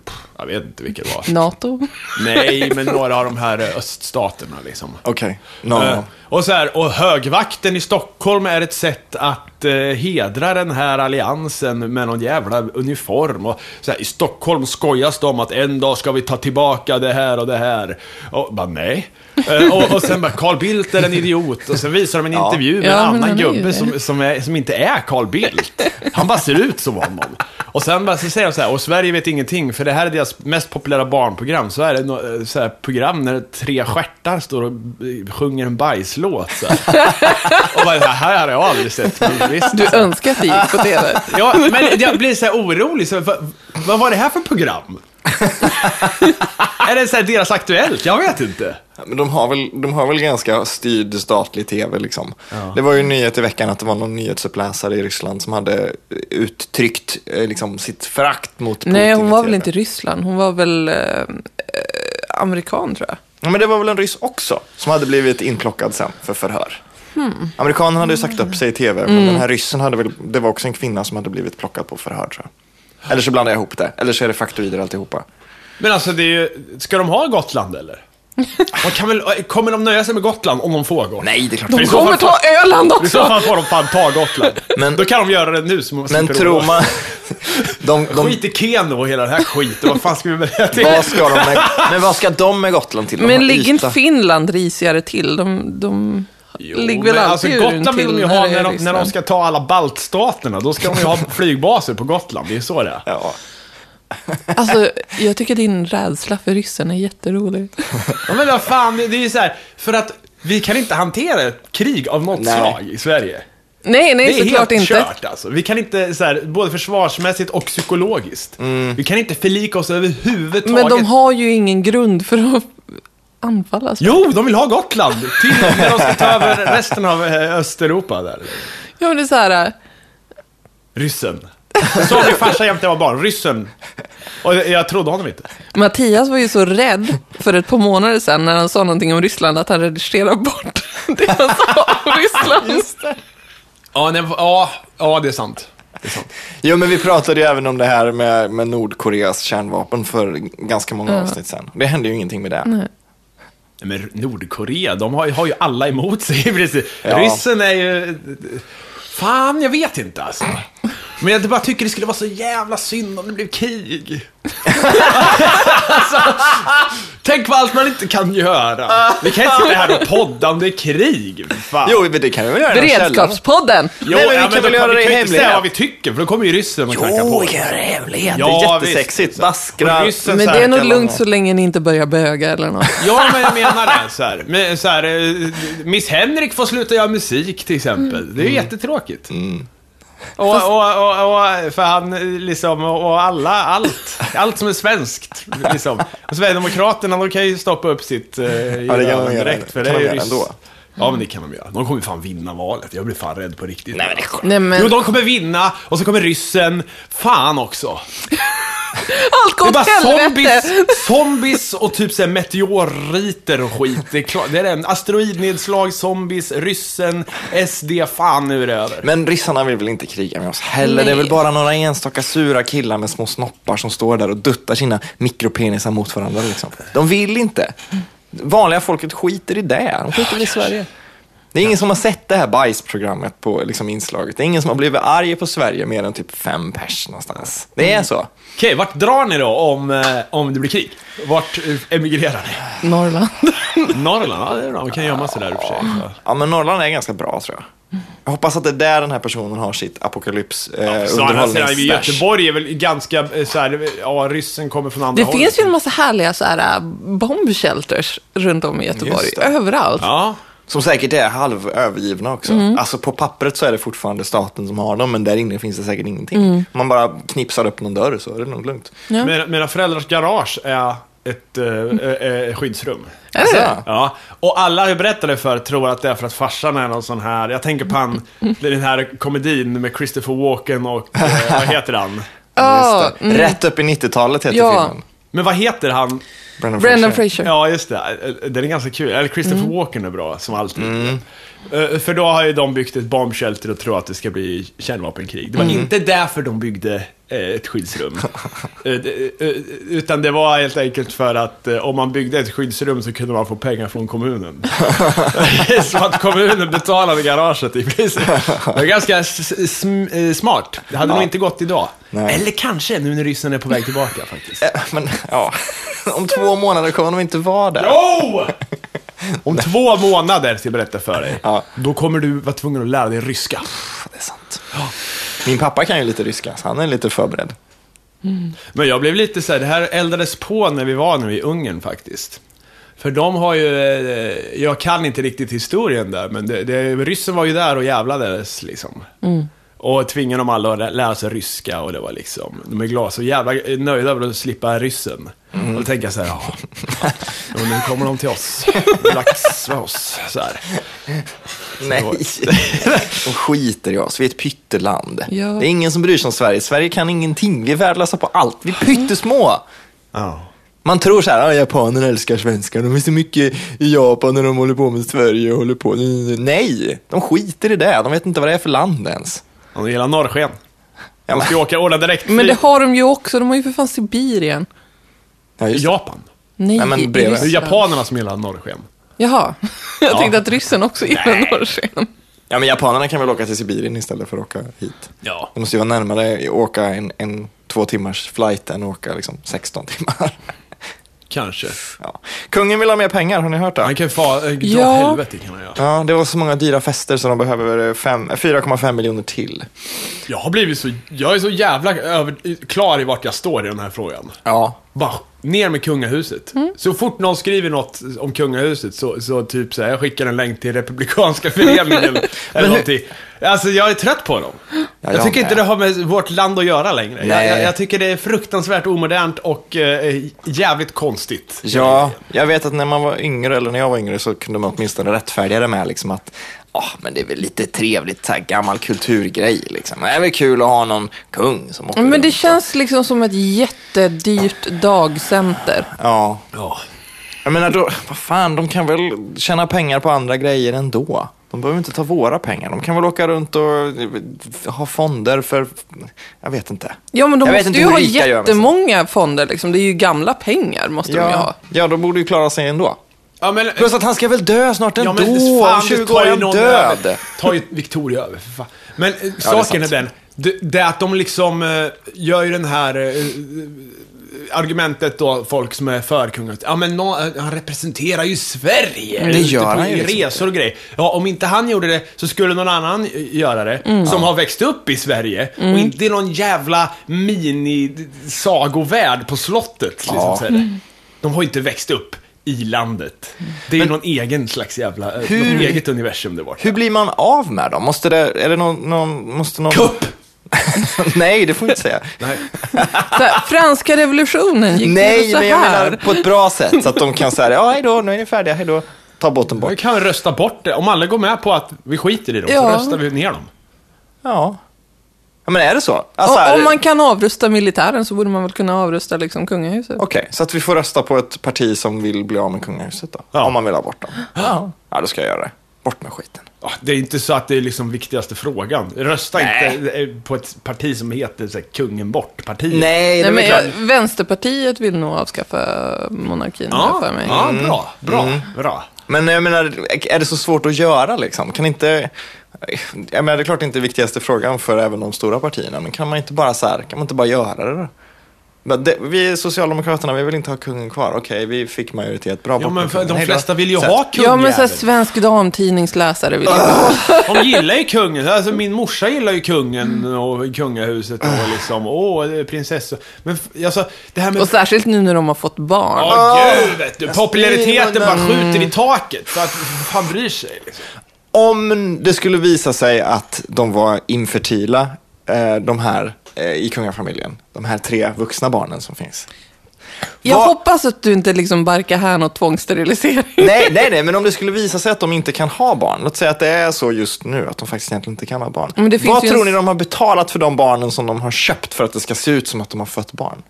Speaker 1: pff, jag vet inte vilka det var.
Speaker 3: NATO?
Speaker 1: Nej, men några av de här eh, öststaterna liksom.
Speaker 2: Okej. No,
Speaker 1: Eh,
Speaker 2: no.
Speaker 1: Och så här, och högvakten i Stockholm är ett sätt att eh, hedra den här alliansen med någon jävla uniform. Och så här, I Stockholm skojas det om att en dag ska vi ta tillbaka det här och det här. Och bara nej. Eh, och, och sen bara, Carl Bildt är en idiot. Och sen visar de en
Speaker 2: Ja.
Speaker 1: intervju med
Speaker 3: Ja, men
Speaker 1: en annan
Speaker 3: han är ju
Speaker 1: gubbe
Speaker 3: det.
Speaker 1: som, som, är, som inte är Carl Bildt. Han bara ser ut som honom. Och sen bara, så säger de så här, och Sverige vet ingenting, för det här är deras mest populära barnprogram. Så är det nå- eh, så här, program när tre stjärtar står och eh, sjunger en bajslåt. Så här. Och bara, så här, här har jag aldrig sett men visst.
Speaker 3: Du önskar att det gick på TV?
Speaker 1: Ja, men jag blir så här orolig. Så, här, vad, vad var det här för program? är det så här deras Aktuellt? Jag vet inte.
Speaker 2: Men de har, väl, de har väl ganska styrd statlig tv liksom. Det var ju en nyhet i veckan att det var någon nyhetsuppläsare i Ryssland som hade uttryckt eh, liksom, sitt förakt mot Putin
Speaker 3: Nej, hon
Speaker 2: i
Speaker 3: var
Speaker 2: TV.
Speaker 3: väl inte i Ryssland. Hon var väl eh, eh, amerikan, tror jag.
Speaker 2: Ja, men det var väl en ryss också som hade blivit inplockad sen för förhör.
Speaker 3: Hmm.
Speaker 2: Amerikanen hade ju sagt upp sig i tv, men
Speaker 3: Mm.
Speaker 2: den här ryssen hade väl, det var också en kvinna som hade blivit plockad på förhör tror jag. Eller så blandar jag ihop det, eller så är det faktoider alltihopa.
Speaker 1: Men alltså, det är ju, ska de ha Gotland eller? De kan väl, kommer de nöja sig med Gotland om de får Gotland?
Speaker 2: Nej, det är klart.
Speaker 1: I
Speaker 3: De
Speaker 1: så fall
Speaker 3: kommer ta Öland
Speaker 1: I så
Speaker 3: också!
Speaker 1: fall får de fan ta Gotland.
Speaker 2: Men-
Speaker 1: Då kan de göra det nu. Som de
Speaker 2: Men
Speaker 1: slipper
Speaker 2: tror
Speaker 1: oroa.
Speaker 2: man... De, de,
Speaker 1: Skit i Keno och hela den här skiten. Vad fan ska vi med det till?
Speaker 2: vad ska de med, men vad ska de med Gotland till? De har
Speaker 3: Men ligger inte
Speaker 2: yta.
Speaker 3: Finland risigare till? De, de
Speaker 1: Jo,
Speaker 3: ligger väl
Speaker 1: men
Speaker 3: alltid
Speaker 1: alltså,
Speaker 3: ur
Speaker 1: Gotland vill
Speaker 3: till
Speaker 1: de ju ha
Speaker 3: det
Speaker 1: när de,
Speaker 3: är
Speaker 1: när de
Speaker 3: Ryssland.
Speaker 1: ska ta alla baltstaterna. Då ska de ju ha flygbaser på Gotland. Det är ju så det är.
Speaker 2: Ja.
Speaker 3: Alltså, jag tycker din rädsla för ryssen är jätterolig.
Speaker 1: Ja, men vad fan, det det är ju så här. För att vi kan inte hantera ett krig av något
Speaker 2: Nej.
Speaker 1: slag i Sverige.
Speaker 3: Nej,
Speaker 1: Det
Speaker 3: nej,
Speaker 1: är
Speaker 3: såklart
Speaker 1: helt
Speaker 3: inte.
Speaker 1: kört alltså. Vi kan inte, så här, både försvarsmässigt och psykologiskt. Vi kan inte förlika oss överhuvudtaget.
Speaker 3: Mm. Men de har ju ingen grund för att anfalla. Sverige.
Speaker 1: Jo, de vill ha Gotland! Till när de ska ta över resten av eh, Östeuropa där.
Speaker 3: Ja, men det är så här... äh,
Speaker 1: Ryssen. Det sa min farsa jämt när jag var barn. Ryssen. Och jag- jag trodde honom inte.
Speaker 3: Mattias var ju så rädd för ett par månader sedan när han sa någonting om Ryssland att han redigerade bort det han sa om Ryssland.
Speaker 1: Ja, nej, ja, ja det är sant.
Speaker 2: Jo, men vi pratade ju även om det här med, med Nordkoreas kärnvapen för ganska många avsnitt sen. Det hände ju ingenting med det.
Speaker 1: Nej, Men Nordkorea, de har, ju- har ju alla emot sig. precis.
Speaker 2: Ja.
Speaker 1: Ryssen är ju... Fan, jag vet inte alltså. Men jag bara tycker det skulle vara så jävla synd om det blev krig. alltså, tänk på allt man inte kan göra. Vi kan inte sitta här och podda om det är krig. Fan.
Speaker 2: Jo, men det kan vi väl göra i källaren.
Speaker 3: Beredskapspodden!
Speaker 1: Jo,
Speaker 2: Nej, men vi
Speaker 1: ja,
Speaker 2: kan väl
Speaker 1: då-
Speaker 2: göra det
Speaker 1: Vi
Speaker 2: i
Speaker 1: kan ju inte säga
Speaker 2: hemlighet.
Speaker 1: vad vi tycker, för då kommer ju ryssen och knackar på. liksom.
Speaker 2: det i hemlighet.
Speaker 1: Ja,
Speaker 2: det är jättesexigt.
Speaker 1: visst.
Speaker 2: Vaskra.
Speaker 1: Och ryssen
Speaker 3: Men
Speaker 1: så här
Speaker 3: det är nog
Speaker 2: kan
Speaker 3: lugnt
Speaker 2: man-
Speaker 3: så länge ni inte börjar böga eller något.
Speaker 1: Ja, men jag menar det. Så här. Men, så
Speaker 2: Mm.
Speaker 1: här, eh, Miss Henrik får sluta göra musik till exempel. Det är ju jättetråkigt. Och, och, och, och, för han liksom, och och alla, allt, allt som är svenskt. Liksom. Och Sverigedemokraterna, de kan ju stoppa upp sitt eh, ja,
Speaker 2: de göra ändå.
Speaker 1: direkt. För
Speaker 2: Kan
Speaker 1: det är
Speaker 2: de
Speaker 1: ju
Speaker 2: göra
Speaker 1: ryss.
Speaker 2: ändå?
Speaker 1: Ja, men det kan de göra. De kommer ju fan vinna valet. Jag blir fan rädd på riktigt.
Speaker 2: Nej, men det
Speaker 3: Nej, men
Speaker 1: Jo, de kommer vinna och så kommer ryssen. Fan också.
Speaker 3: allt går
Speaker 1: Det är
Speaker 3: åt
Speaker 1: bara
Speaker 3: helvete!
Speaker 1: zombies, zombies och typ så här meteoriter och skit. Det är, klart, det är en asteroidnedslag, zombies, ryssen, SD, fan nu är det över.
Speaker 2: Men ryssarna vill väl inte kriga med oss heller?
Speaker 3: Nej.
Speaker 2: Det är väl bara några enstaka sura killar med små snoppar som står där och duttar sina mikropenisar mot varandra. Liksom. De vill inte. Vanliga folket skiter i det. De skiter väl i Sverige. Det är ingen som har sett det här bajsprogrammet på liksom, inslaget. Det är ingen som har blivit arg på Sverige mer än typ fem pers någonstans. Det
Speaker 3: Mm.
Speaker 2: är så.
Speaker 1: Okej, vart drar ni då om, eh, om det blir krig? Vart eh, emigrerar ni?
Speaker 3: Norrland.
Speaker 1: Norrland? Ja, det är bra. Man kan gömma sig där i och för sig. så.
Speaker 2: Ja, men Norrland är ganska bra tror jag. Jag hoppas att det är där den här personen har sitt apokalyps eh,
Speaker 1: Så å andra sidan, i
Speaker 2: underhållningsstash.
Speaker 1: Göteborg är väl ganska eh, så här, ja, ryssen kommer från andra
Speaker 3: Det
Speaker 1: hållet.
Speaker 3: finns ju en massa härliga så här, äh, bombshelters runt om i Göteborg.
Speaker 2: Just det.
Speaker 3: Överallt.
Speaker 1: Ja.
Speaker 2: Som säkert är halvövergivna också.
Speaker 3: Mm.
Speaker 2: Alltså på pappret så är det fortfarande staten som har dem, men där inne finns det säkert ingenting. Om man bara knipsar upp någon dörr så är det nog lugnt.
Speaker 3: Mm. Ja.
Speaker 1: Mina, mina föräldrars garage är ett eh, eh, skyddsrum.
Speaker 3: Är det det?
Speaker 2: Alltså,
Speaker 1: Ja, och alla jag berättade för tror att det är för att farsan är någon sån här, jag tänker på han, den här komedin med Christopher Walken och, eh, vad heter han?
Speaker 3: Ja,
Speaker 2: just det. Rätt upp i 90-talet heter
Speaker 3: Mm. Ja.
Speaker 2: filmen.
Speaker 1: Men vad heter han?
Speaker 2: Brendan
Speaker 3: Brendan Fraser.
Speaker 1: Ja, just det. Eh, Den är ganska kul. Eller Christopher Walken är bra, som alltid.
Speaker 2: Mm.
Speaker 1: Eh, För då har ju de byggt ett bombshelter och tror att det ska bli kärnvapenkrig. Det var
Speaker 2: Mm.
Speaker 1: inte därför de byggde eh, ett skyddsrum. Eh, det- eh, Utan det var helt enkelt för att eh, om man byggde ett skyddsrum så kunde man få pengar från kommunen. så att kommunen betalade garaget i princip. Det var ganska s- s- sm- eh, smart. Det hade nog inte gått idag.
Speaker 2: Nej.
Speaker 1: Eller kanske nu när ryssen är på väg tillbaka faktiskt.
Speaker 2: Eh, Men ja, om två månader kommer de inte vara där.
Speaker 1: Jo! Om två månader, ska jag berätta för dig,
Speaker 2: Ja.
Speaker 1: då kommer du vara tvungen att lära dig ryska.
Speaker 2: Det är sant. Min pappa kan ju lite ryska, så han är lite förberedd.
Speaker 1: Men jag blev lite så här, det här eldades på när vi var nu i Ungern faktiskt. För de har ju, eh, jag kan inte riktigt historien där, men det, det, ryssen var ju där och jävlades liksom. Och tvingade dem alla att lä- lära sig ryska och det var liksom, de är glada, så jävla nöjda över att slippa ryssen. Och då tänker jag så här, ja, och nu kommer de till oss, lax för oss, så här.
Speaker 2: Nej. De skiter i oss, vi är ett pytteland.
Speaker 3: Ja.
Speaker 2: Det är ingen som bryr sig om Sverige. Sverige kan ingenting, vi är värdelösa på allt. Vi är pyttesmå.
Speaker 1: Ja.
Speaker 2: Man tror så här, "Ah, japaner älskar svenskar, de är så mycket i Japan när de håller på med Sverige och håller på. Nej, de skiter i det, de vet inte vad det är för land ens.
Speaker 1: Om du gillar norrsken.
Speaker 2: Ja,
Speaker 1: Jag
Speaker 2: men-
Speaker 1: ska åka ordna direkt
Speaker 3: Men det har de ju också. De har ju för fan Sibirien.
Speaker 2: Ja, just det.
Speaker 1: Japan.
Speaker 3: Nej,
Speaker 2: Nej, men
Speaker 3: i
Speaker 2: bredvid.
Speaker 1: Det är
Speaker 3: Ryssland.
Speaker 1: japanerna som gillar norrsken.
Speaker 3: Jaha. Jag
Speaker 1: Ja.
Speaker 3: tänkte att ryssen också gillar norrsken.
Speaker 2: ja, men japanerna kan väl åka till Sibirien istället för att åka hit.
Speaker 1: Ja.
Speaker 2: De måste ju vara närmare åka en, en två timmars flight än att åka liksom 16 timmar.
Speaker 1: Kanske.
Speaker 2: Ja. Kungen vill ha mer pengar, har ni hört det?
Speaker 1: Han kan fa- eh, dra
Speaker 3: Ja.
Speaker 1: ja. helvete kan han göra.
Speaker 2: Ja, det var så många dyra fester så de behöver eh, fem- 4,5 miljoner till.
Speaker 1: Jag har blivit så, jag är så jävla över, klar i vart jag står i den här frågan.
Speaker 2: Ja.
Speaker 1: Bara ner med kungahuset.
Speaker 2: Mm.
Speaker 1: Så fort någon skriver något om kungahuset så, så typ så här, jag skickar en länk till Republikanska föreningen eller någonting. Alltså jag är trött på dem. jag
Speaker 2: jag
Speaker 1: tycker
Speaker 2: med.
Speaker 1: inte det har med vårt land att göra längre. Jag,
Speaker 2: Nej.
Speaker 1: jag, jag tycker det är fruktansvärt omodernt och eh, jävligt konstigt.
Speaker 2: Ja, jag vet att när man var yngre, eller när jag var yngre, så kunde man åtminstone rättfärdiga det med liksom att ah, men det är väl lite trevligt, så här, gammal kulturgrej. Liksom. Det är väl kul att ha någon kung som åker
Speaker 3: Men det
Speaker 2: runt.
Speaker 3: känns liksom som ett jättedyrt dagcenter.
Speaker 2: Ja,
Speaker 1: Ja.
Speaker 2: jag menar, då, vad fan, de kan väl tjäna pengar på andra grejer ändå. De behöver inte ta våra pengar. De kan väl åka runt och eh, ha fonder för, jag vet inte.
Speaker 3: Ja, men de
Speaker 2: jag vet
Speaker 3: måste
Speaker 2: inte
Speaker 3: ju
Speaker 2: hur
Speaker 3: ha
Speaker 2: rika gör med sig.
Speaker 3: jättemånga fonder. Liksom. Det är ju gamla pengar, måste de ju ha.
Speaker 2: Ja, ja, de borde ju klara sig ändå.
Speaker 1: Ja, men,
Speaker 2: Plus att han ska väl dö snart ändå.
Speaker 1: ja, men fan,
Speaker 2: Om
Speaker 1: det
Speaker 2: 20
Speaker 1: tar
Speaker 2: år
Speaker 1: ju
Speaker 2: är han
Speaker 1: någon
Speaker 2: död.
Speaker 1: över. Tar ju Victoria över, för fan. Men eh,
Speaker 2: är
Speaker 1: saken
Speaker 2: sant.
Speaker 1: är, den, det, det är att de liksom eh, gör ju den här eh, eh, argumentet då, folk som är för kungahuset. Ja, men nå- eh, han representerar ju Sverige.
Speaker 2: det
Speaker 1: ute
Speaker 2: gör
Speaker 1: på
Speaker 2: han ju liksom
Speaker 1: resor och grejer. Ja, om inte han gjorde det så skulle någon annan eh, göra det,
Speaker 2: Mm.
Speaker 1: som har växt upp i Sverige. Och inte i någon jävla mini-sagovärld på slottet, liksom.
Speaker 2: Ja. Mm.
Speaker 1: Så är det. De har ju inte växt upp i landet. Det är ju någon egen slags jävla, hur,
Speaker 2: Hur-
Speaker 1: något eget universum där borta.
Speaker 2: Hur blir man av med dem? Måste det, är det någon, någon måste någon...
Speaker 1: Kupp!
Speaker 2: Nej, det får jag inte säga.
Speaker 1: Nej.
Speaker 3: Så här, franska revolutionen gick till
Speaker 2: Nej,
Speaker 3: så
Speaker 2: men jag
Speaker 3: här.
Speaker 2: menar på ett bra sätt så att de kan säga ja hej då, nu är ni färdiga, hej då. Ta båten bort.
Speaker 1: Vi kan rösta bort det. Om alla går med på att vi skiter i dem, så
Speaker 3: Ja.
Speaker 1: röstar vi ner dem.
Speaker 2: Ja. ja men är det så? Alltså,
Speaker 3: Och,
Speaker 2: är
Speaker 3: om
Speaker 2: det-
Speaker 3: man kan avrusta militären så borde man väl kunna avrusta liksom kungahuset.
Speaker 2: Okej, så att vi får rösta på ett parti som vill bli av med kungahuset då?
Speaker 1: Ja.
Speaker 2: Om man vill ha bort dem? Ja. Ja, då ska jag göra det. Bort med skiten.
Speaker 1: Ah, Det är inte så att det är liksom viktigaste frågan. Rösta
Speaker 2: Nej.
Speaker 1: inte eh, på ett parti som heter så här, kungen bort-partiet.
Speaker 2: Nej, det
Speaker 3: Nej,
Speaker 2: är
Speaker 3: men
Speaker 2: väl
Speaker 3: jag,
Speaker 2: klart.
Speaker 3: Vänsterpartiet vill nog avskaffa monarkin har
Speaker 1: Ja,
Speaker 3: jag för mig.
Speaker 1: ja bra, bra, bra.
Speaker 2: Men jag menar, är det så svårt att göra liksom? Kan inte... Jag menar, det är klart inte viktigaste frågan för även de stora partierna, men kan man inte bara så här, kan man inte bara göra det då? Men det, vi är Socialdemokraterna, vi vill inte ha kungen kvar. Okej, vi fick majoritet. Bra,
Speaker 1: Ja,
Speaker 2: bort med
Speaker 1: men för
Speaker 2: kungen.
Speaker 1: de
Speaker 2: Hej då.
Speaker 1: flesta vill ju
Speaker 2: Så-
Speaker 1: ha
Speaker 3: Ja, men så här,
Speaker 1: kungjäveln.
Speaker 3: svensk damtidningsläsare vill inte
Speaker 1: De gillar ju kungen. Alltså, min morsa gillar ju kungen och kungahuset och liksom, åh, det är prinsessor. Men f- alltså, det här med...
Speaker 3: Och särskilt nu när de har fått barn.
Speaker 1: Ja,
Speaker 3: Ah!
Speaker 1: gud vet du. Populariteten
Speaker 2: spyr i
Speaker 1: bara
Speaker 2: munnen.
Speaker 1: skjuter i taket. Så att han bryr sig. Liksom.
Speaker 2: Om det skulle visa sig att de var infertila, eh, de här eh, i kungafamiljen, de här tre vuxna barnen som finns.
Speaker 3: jag
Speaker 2: vad-
Speaker 3: hoppas att du inte liksom barkar här något tvångssterilisering.
Speaker 2: Nej, nej, nej, men om det skulle visa sig att de inte kan ha barn, låt säga att det är så just nu, att de faktiskt egentligen inte kan ha barn.
Speaker 3: Men det finns
Speaker 2: Vad
Speaker 3: ju en-
Speaker 2: tror ni de har betalat för de barnen som de har köpt för att det ska se ut som att de har fött barn?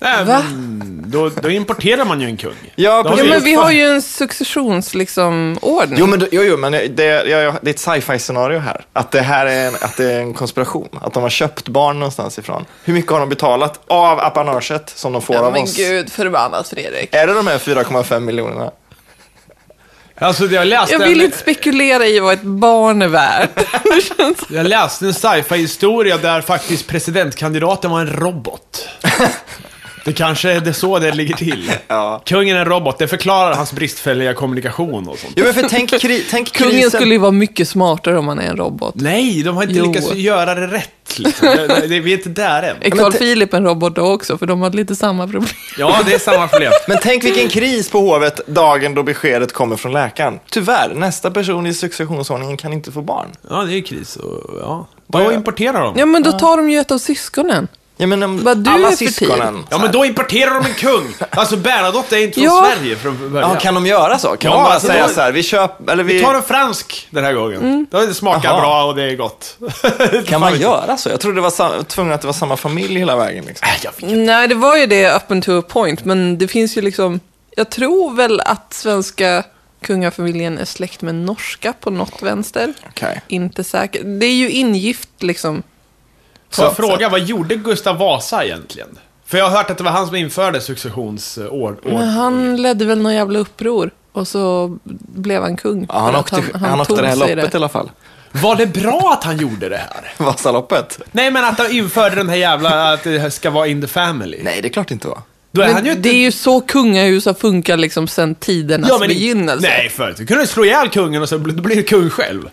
Speaker 1: Nej,
Speaker 3: Va?
Speaker 1: men då, då importerar man ju en kung.
Speaker 2: Ja,
Speaker 1: Då
Speaker 2: precis.
Speaker 3: Ja, men vi har
Speaker 1: ju...
Speaker 3: ju en successionsordning. Liksom, ordning.
Speaker 2: Jo, men, jo, jo, men det, ja, ja, det är ett sci-fi-scenario här. Att det här är en, att det är en konspiration. Att de har köpt barn någonstans ifrån. Hur mycket har de betalat av apanaget som de får
Speaker 3: Ja,
Speaker 2: av
Speaker 3: men
Speaker 2: oss?
Speaker 3: gud förbannat Fredrik.
Speaker 2: Är det de här 4,5 miljonerna?
Speaker 1: Alltså, jag läste,
Speaker 3: Jag vill inte spekulera i vad ett barn är värt. Det känns-
Speaker 1: en, jag läste en sci-fi historia där faktiskt presidentkandidaten var en robot. Det kanske är det så det ligger till.
Speaker 2: Ja.
Speaker 1: Kungen är en robot, det förklarar hans bristfälliga kommunikation och sånt.
Speaker 2: Jo, men för tänk, kri, tänk
Speaker 3: Kungen
Speaker 2: krisen.
Speaker 3: skulle ju vara mycket smartare om han är en robot.
Speaker 1: Nej, de har inte
Speaker 3: Jo.
Speaker 1: lyckats göra det rätt. Liksom. Det, det, det, vi är inte där än.
Speaker 3: Är
Speaker 2: men
Speaker 3: Carl
Speaker 2: te-
Speaker 3: Philip en robot då också? För de hade lite samma problem.
Speaker 1: Ja, det är samma problem.
Speaker 2: Men tänk vilken kris på hovet dagen då beskedet kommer från läkaren. Tyvärr, nästa person i successionsordningen kan inte få barn.
Speaker 1: Ja, det är ju kris. Och, ja. Då importerar de.
Speaker 3: Ja, men då tar de ju ett av syskonen.
Speaker 2: Ja, men om
Speaker 3: Vad du
Speaker 2: alla
Speaker 3: är för typ. tid.
Speaker 2: syskonen.
Speaker 1: Ja, men då importerar de en kung. Alltså, Bernadotte är inte från
Speaker 3: Ja.
Speaker 1: Sverige från början.
Speaker 2: Ja, kan de göra så? Kan
Speaker 1: Ja,
Speaker 2: de bara
Speaker 1: alltså,
Speaker 2: säga
Speaker 1: då-
Speaker 2: så här, vi köper, eller vi...
Speaker 1: Vi tar en fransk den här gången.
Speaker 3: Mm.
Speaker 1: Det smakar
Speaker 2: Jaha.
Speaker 1: bra och det är gott.
Speaker 2: Kan man göra så? Jag trodde det var sam- tvungen att det var samma familj hela vägen. Liksom.
Speaker 1: Äh,
Speaker 3: Nej, det var ju det open to a point, men det finns ju liksom... Jag tror väl att svenska kungafamiljen är släkt med norska på något vänster.
Speaker 2: Okej.
Speaker 3: Inte säker. Det är ju ingift liksom.
Speaker 1: Så
Speaker 2: Så-
Speaker 1: fråga, vad gjorde Gustav Vasa egentligen? För jag har hört att det var han som införde eh, successionsord.
Speaker 3: Men han ledde väl någon jävla uppror och så blev han kung.
Speaker 2: Ja, han
Speaker 3: För att
Speaker 2: åkte, han, åkte
Speaker 3: tog
Speaker 2: det här
Speaker 3: sig
Speaker 2: loppet i alla fall.
Speaker 1: Var det bra att han gjorde det här?
Speaker 2: Vasaloppet.
Speaker 1: Nej, men att han införde den här jävla, att det ska vara in the family.
Speaker 2: Nej, det är klart inte var.
Speaker 1: Då är
Speaker 3: Men
Speaker 1: han ju inte...
Speaker 3: Det är ju så kungahus har funkat liksom sedan tidernas
Speaker 2: Alltså,
Speaker 1: men i-
Speaker 3: begynnelse.
Speaker 1: Nej, förut du kunde du slå ihjäl kungen och så bl- då blir du kung själv.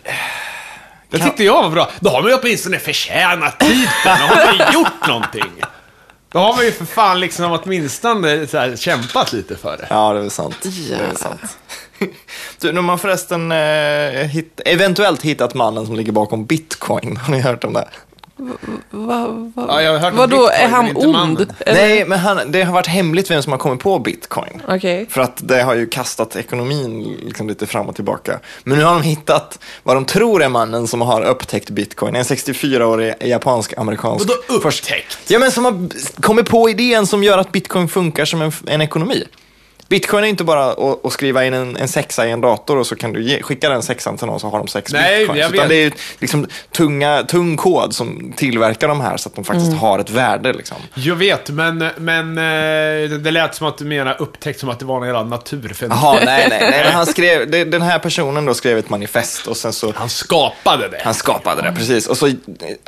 Speaker 1: Det tyckte jag var bra. Då har man ju åtminstone förtjänat titeln, då har man ju gjort någonting. Då har man ju för fan liksom åtminstone så här, kämpat lite för det.
Speaker 2: Ja, det är väl sant. Det är
Speaker 3: Ja.
Speaker 2: väl sant. Du, nu har man förresten eh, hitt, eventuellt hittat mannen som ligger bakom bitcoin. Har ni hört om det?
Speaker 3: Va, va,
Speaker 1: Ja, jag har hört om
Speaker 3: vadå,
Speaker 1: Bitcoin,
Speaker 3: är han
Speaker 1: men inte mannen.
Speaker 3: ond? Eller-
Speaker 2: Nej, men han, det har varit hemligt vem som har kommit på bitcoin.
Speaker 3: Okej.
Speaker 2: För att det har ju kastat ekonomin liksom lite fram och tillbaka. Men nu har de hittat vad de tror är mannen som har upptäckt bitcoin. En 64-årig japansk-amerikansk
Speaker 1: Och då upptäckt.
Speaker 2: Ja, men som har b- kommit på idén som gör att bitcoin funkar som en, f- en ekonomi. Bitcoin är inte bara att, att skriva in en, en sexa i en dator och så kan du ge, skicka den sexan till någon så har de sex
Speaker 1: Nej,
Speaker 2: bitcoins.
Speaker 1: jag
Speaker 2: Utan
Speaker 1: vet.
Speaker 2: det är ju liksom tunga, tung kod som tillverkar de här så att de faktiskt
Speaker 3: Mm.
Speaker 2: har ett värde. Liksom.
Speaker 1: Jag vet, men, men eh, det det lät som att du menar upptäckt som att det var en jävla naturfenomen.
Speaker 2: Jaha, nej, nej, nej. Men han skrev, det- den här personen då skrev ett manifest och sen så
Speaker 1: Han skapade det.
Speaker 2: Han skapade det, precis. Och så eh,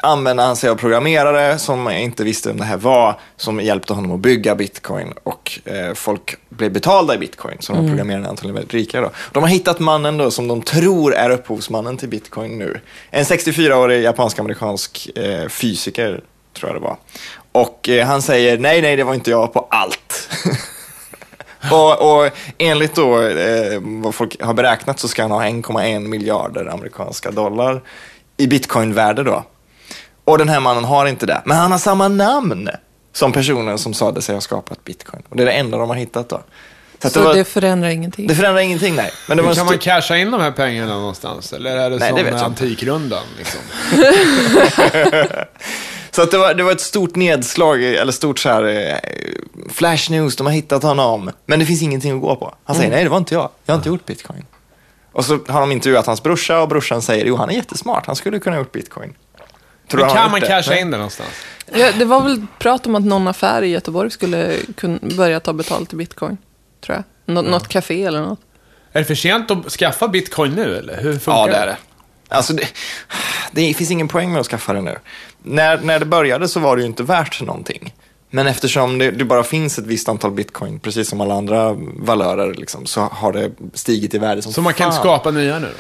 Speaker 2: använde han sig av programmerare som inte visste vem det här var, som hjälpte honom att bygga bitcoin. Och eh, folk blev betalda i bitcoin, så de här programmerarna är antagligen väldigt rika. Då. De har hittat mannen då, som de tror är upphovsmannen till bitcoin nu. En 64-årig japansk-amerikansk eh, fysiker, tror jag det var. Och eh, han säger, nej, nej, det var inte jag på allt. Och, och enligt då, eh, vad folk har beräknat så ska han ha 1,1 miljarder amerikanska dollar i bitcoinvärde då. Och den här mannen har inte det, men han har samma namn som personen som sade sig ha skapat bitcoin. Och det är det enda de har hittat då. Så, att
Speaker 3: Så
Speaker 2: det, var,
Speaker 3: det
Speaker 2: det,
Speaker 3: förändrar ingenting.
Speaker 2: förändrar ingenting, nej. Men det var
Speaker 1: Hur
Speaker 2: en
Speaker 1: kan
Speaker 2: stor-
Speaker 1: man casha in de här pengarna någonstans? Eller är det
Speaker 2: Nej, det
Speaker 1: som
Speaker 2: vet jag inte.
Speaker 1: Antikrundan? Liksom?
Speaker 2: Så att det, var, det var ett stort nedslag, eller stort så här, eh, flash news, de har hittat honom. Men det finns ingenting att gå på. Han
Speaker 1: Mm.
Speaker 2: säger, nej det var inte jag, jag har inte gjort bitcoin. Och så har de intervjuat hans brorsa och brorsan säger, jo han är jättesmart, han skulle kunna ha gjort bitcoin. Tror du
Speaker 1: Hur
Speaker 2: han har
Speaker 1: kan
Speaker 2: gjort
Speaker 1: man
Speaker 2: det?
Speaker 1: casha
Speaker 2: Nej.
Speaker 1: in det någonstans?
Speaker 3: Ja, det var väl prat om att någon affär i Göteborg skulle kun- börja ta betalt i bitcoin. Tror jag.
Speaker 1: Mm.
Speaker 3: Nå- Något café eller något.
Speaker 1: Är det för sent att skaffa bitcoin nu, eller? Hur funkar
Speaker 2: Ja, det är det. Alltså, det, det finns ingen poäng med att skaffa det nu. När, när det började så var det ju inte värt någonting. Men eftersom det, det bara finns ett visst antal bitcoin, precis som alla andra valörer, liksom, så har det stigit i värde som
Speaker 1: Så man kan inte
Speaker 2: fan.
Speaker 1: skapa nya nu då?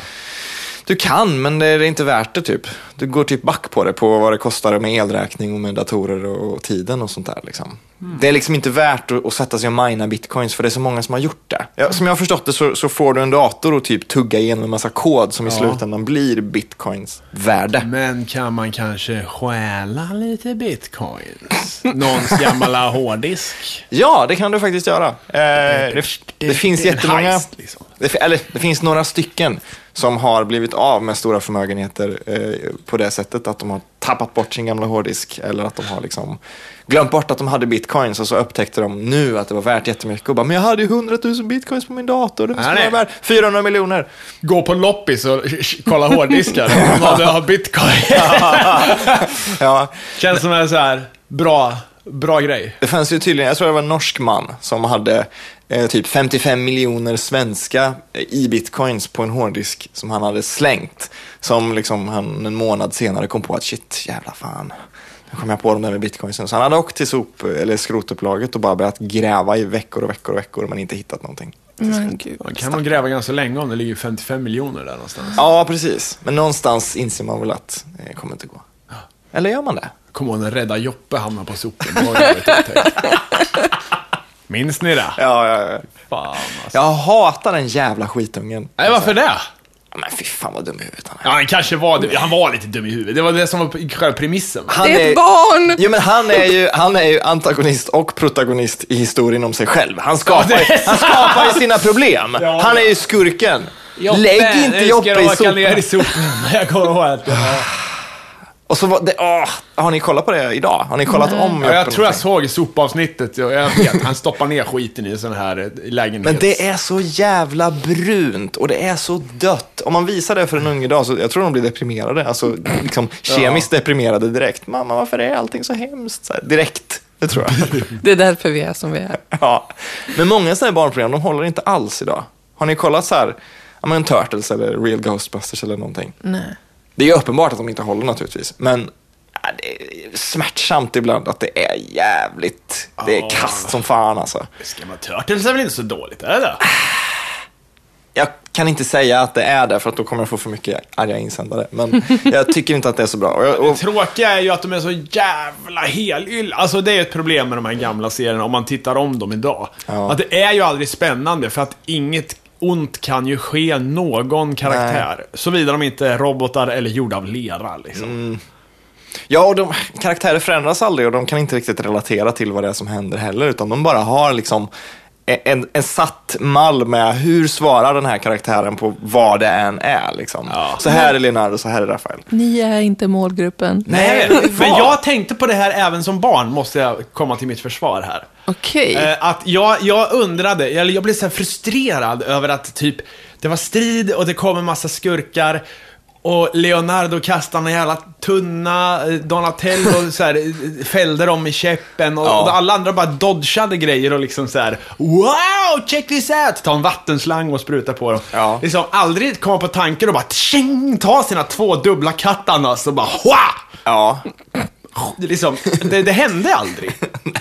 Speaker 2: Du kan, men det är inte värt det typ. Du går typ back på det, på vad det kostar med elräkning och med datorer och, och tiden och sånt där. Liksom. Det är liksom inte värt att, att sätta sig och mina bitcoins, för det är så många som har gjort det. Ja, som jag har förstått det så, så får du en dator och typ tugga igenom en massa kod som i slutändan blir bitcoins värde.
Speaker 1: Men kan man kanske stjäla lite bitcoins? Någons gamla hårddisk?
Speaker 2: Ja, det kan du faktiskt göra. Eh, det, det finns
Speaker 1: det är en
Speaker 2: jättemånga,
Speaker 1: heist, liksom.
Speaker 2: det, fi- eller det finns några stycken som har blivit av med stora förmögenheter eh, på det sättet att de har tappat bort sin gamla hårddisk eller att de har liksom glömt bort att de hade bitcoins och så upptäckte de nu att det var värt jättemycket och bara, men jag hade ju 100 000 bitcoins på min dator, det skulle
Speaker 1: nej.
Speaker 2: vara värt 400 miljoner.
Speaker 1: Gå på loppis och kolla hårddiskar om man har bitcoin.
Speaker 2: Ja,
Speaker 1: Känns som en så här bra, bra grej.
Speaker 2: Det fanns ju tydligen, jag tror det var en norsk man som hade eh, typ 55 miljoner svenska eh, i bitcoins på en hårddisk som han hade slängt. Som liksom han en månad senare kom på att shit, jävla fan. Nu kom jag på de där med bitcoinsen. Så han hade åkt till sop eller skrotupplaget och bara börjat gräva i veckor och veckor och veckor men inte hittat någonting.
Speaker 3: Men gud.
Speaker 1: Man kan nog gräva ganska länge om det ligger 55 miljoner där någonstans.
Speaker 2: Ja, precis. Men någonstans inser man väl att eh, det kommer inte gå. Eller gör man det?
Speaker 1: Kommer ihåg när Rädda Joppe hamnade på sopen? Minns ni det?
Speaker 2: Ja, ja, ja.
Speaker 1: Fan alltså.
Speaker 2: Jag hatar den jävla skitungen.
Speaker 1: Nej, varför det?
Speaker 2: Men fy fan vad dum i huvudet han är.
Speaker 1: Ja, han kanske var Han var lite dum i huvudet. Det var det som var själva premissen. va?
Speaker 2: Han
Speaker 3: Det är ett barn!
Speaker 2: Jo, men han är, ju, han är ju antagonist och protagonist i historien om sig själv. Han skapar,
Speaker 1: Ja, det är
Speaker 2: han skapar ju sina problem.
Speaker 1: Ja.
Speaker 2: Han är ju skurken. Lägg inte Joppe i
Speaker 1: ner i
Speaker 2: soporna.
Speaker 1: sopen. Jag kommer ihåg att det var...
Speaker 2: Och så var det, åh, har ni kollat på det idag? Har ni kollat om
Speaker 1: Ja,
Speaker 2: Joppe
Speaker 1: jag tror jag
Speaker 2: någonting?
Speaker 1: såg i sopavsnittet. Jag jag vet, han stoppar ner skiten i en sån här eh, lägenhet.
Speaker 2: Men det är så jävla brunt och det är så dött. Om man visar det för en unge idag så jag tror de blir deprimerade. Alltså liksom kemiskt deprimerade direkt. Mamma, varför är allting så hemskt? Så här, direkt, det tror jag.
Speaker 3: Det är därför vi är som vi är.
Speaker 2: Ja, men många sådana här barnprogram, de håller inte alls idag. Har ni kollat så här, ja men Turtles eller Real Ghostbusters eller någonting?
Speaker 3: Nej.
Speaker 2: Det är ju uppenbart att de inte håller naturligtvis, men ja, det är smärtsamt ibland att det är jävligt, det är kast som fan alltså.
Speaker 1: Ska man Turtles är väl inte så dåligt, eller?
Speaker 2: Jag kan inte säga att det är det, för att då kommer jag få för mycket arga insändare, men jag tycker inte att det är så bra. Och jag, och,
Speaker 1: Tråkiga är ju att de är så jävla helyll. Alltså det är ju ett problem med de här gamla serierna om man tittar om dem idag.
Speaker 2: Ja.
Speaker 1: Att det är ju aldrig spännande för att inget ont kan ju ske någon karaktär. Såvida de inte är robotar eller gjorda av lera liksom.
Speaker 2: ja, och de, karaktärer förändras aldrig och de kan inte riktigt relatera till vad det är som händer heller, utan de bara har liksom en, en satt mall med hur svarar den här karaktären på vad det än är. Liksom.
Speaker 1: Ja.
Speaker 2: Så här är Leonardo, så här är Rafael.
Speaker 3: Ni är inte målgruppen.
Speaker 1: Nej,
Speaker 2: det
Speaker 1: men
Speaker 2: var-
Speaker 1: jag tänkte på det här även som barn, måste jag komma till mitt försvar här.
Speaker 3: Okej.
Speaker 1: Eh, att jag, jag undrade, eller jag blev så här frustrerad över att typ, det var strid och det kom en massa skurkar. Och Leonardo kastade en jävla tunna, eh, Donatello så här, eh, fällde dem i käppen och,
Speaker 2: Ja.
Speaker 1: och alla andra bara dodgade grejer och liksom så här: Wow, check this out! Ta en vattenslang och spruta på dem.
Speaker 2: Ja.
Speaker 1: Liksom aldrig komma på alltså, tanken och bara tjing, ta sina två dubbla katanas och bara Hua!
Speaker 2: Ja,
Speaker 1: liksom, det, det hände aldrig.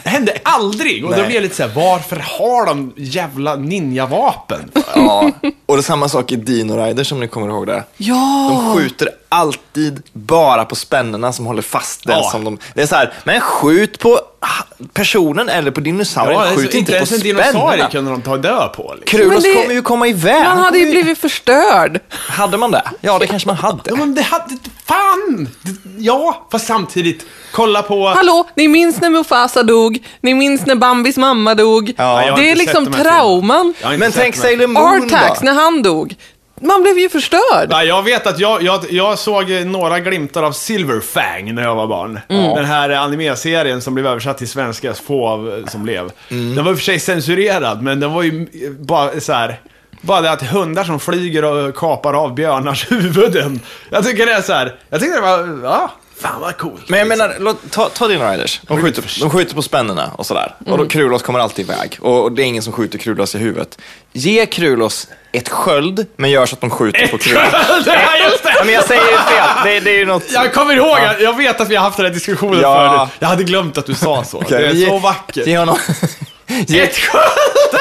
Speaker 1: Det hände aldrig. Och då
Speaker 2: Nej.
Speaker 1: blev jag lite såhär, varför har de jävla ninjavapen?
Speaker 2: Ja. Och det är samma sak i Dino Riders som ni kommer ihåg det.
Speaker 3: Ja!
Speaker 2: De skjuter alltid bara på spännena som håller fast den
Speaker 1: Ja.
Speaker 2: som de... Det är så här, men skjut på ha- personen eller på dinosaurien,
Speaker 1: Ja, alltså,
Speaker 2: skjut inte på
Speaker 1: ens en dinosaurie
Speaker 2: spännena.
Speaker 1: kunde de ta död på. Liksom.
Speaker 2: Krulos
Speaker 3: Men det-
Speaker 2: kommer ju komma iväg.
Speaker 3: Han hade ju blivit förstörd.
Speaker 2: Hade man det? Ja, det kanske man hade.
Speaker 1: Ja, men det hade... Fan! Det- Ja, fast samtidigt, kolla på...
Speaker 3: Hallå, ni minns när Mufasa dog? Ni minns när Bambis mamma dog?
Speaker 2: Ja, jag har
Speaker 3: det
Speaker 1: inte
Speaker 3: är
Speaker 1: sett
Speaker 3: liksom
Speaker 1: de här filmerna.
Speaker 3: trauman.
Speaker 1: Jag har inte
Speaker 2: Men
Speaker 1: sett
Speaker 2: tänk
Speaker 1: de här-
Speaker 2: Sailor Moon
Speaker 3: Artax,
Speaker 2: då.
Speaker 3: när han dog. Man blev ju förstörd.
Speaker 1: Nej, jag vet att jag, jag, jag såg eh, några glimtar av Silverfang när jag var barn.
Speaker 2: Mm.
Speaker 1: Den här eh, animeserien som blev översatt till svenska, få av eh, som blev.
Speaker 2: Mm.
Speaker 1: Den var i och för sig censurerad, men den var ju eh, bara så här. Bara det att hundar som flyger och kapar av björnars huvuden. Jag tycker det är så här. Jag tycker det var, ja, fan vad coolt.
Speaker 2: Men jag menar, låt, ta, ta Dino Riders. De skjuter, de skjuter på spännena och sådär. Och då Krulos kommer alltid iväg. Och, och det är ingen som skjuter Krulos i huvudet. Ge Krulos ett sköld, men gör så att de skjuter på Krulos.
Speaker 1: ja, just det.
Speaker 2: Nej, men jag säger ju fel. Det, det är ju något...
Speaker 1: Jag kommer ihåg, jag- jag vet att vi har haft den här diskussionen
Speaker 2: Ja.
Speaker 1: förut. Jag hade glömt att du sa så.
Speaker 2: Okej,
Speaker 1: Det
Speaker 2: men
Speaker 1: är
Speaker 2: ge-
Speaker 1: så vackert.
Speaker 2: Ge honom... Ge,
Speaker 1: Ett sköld!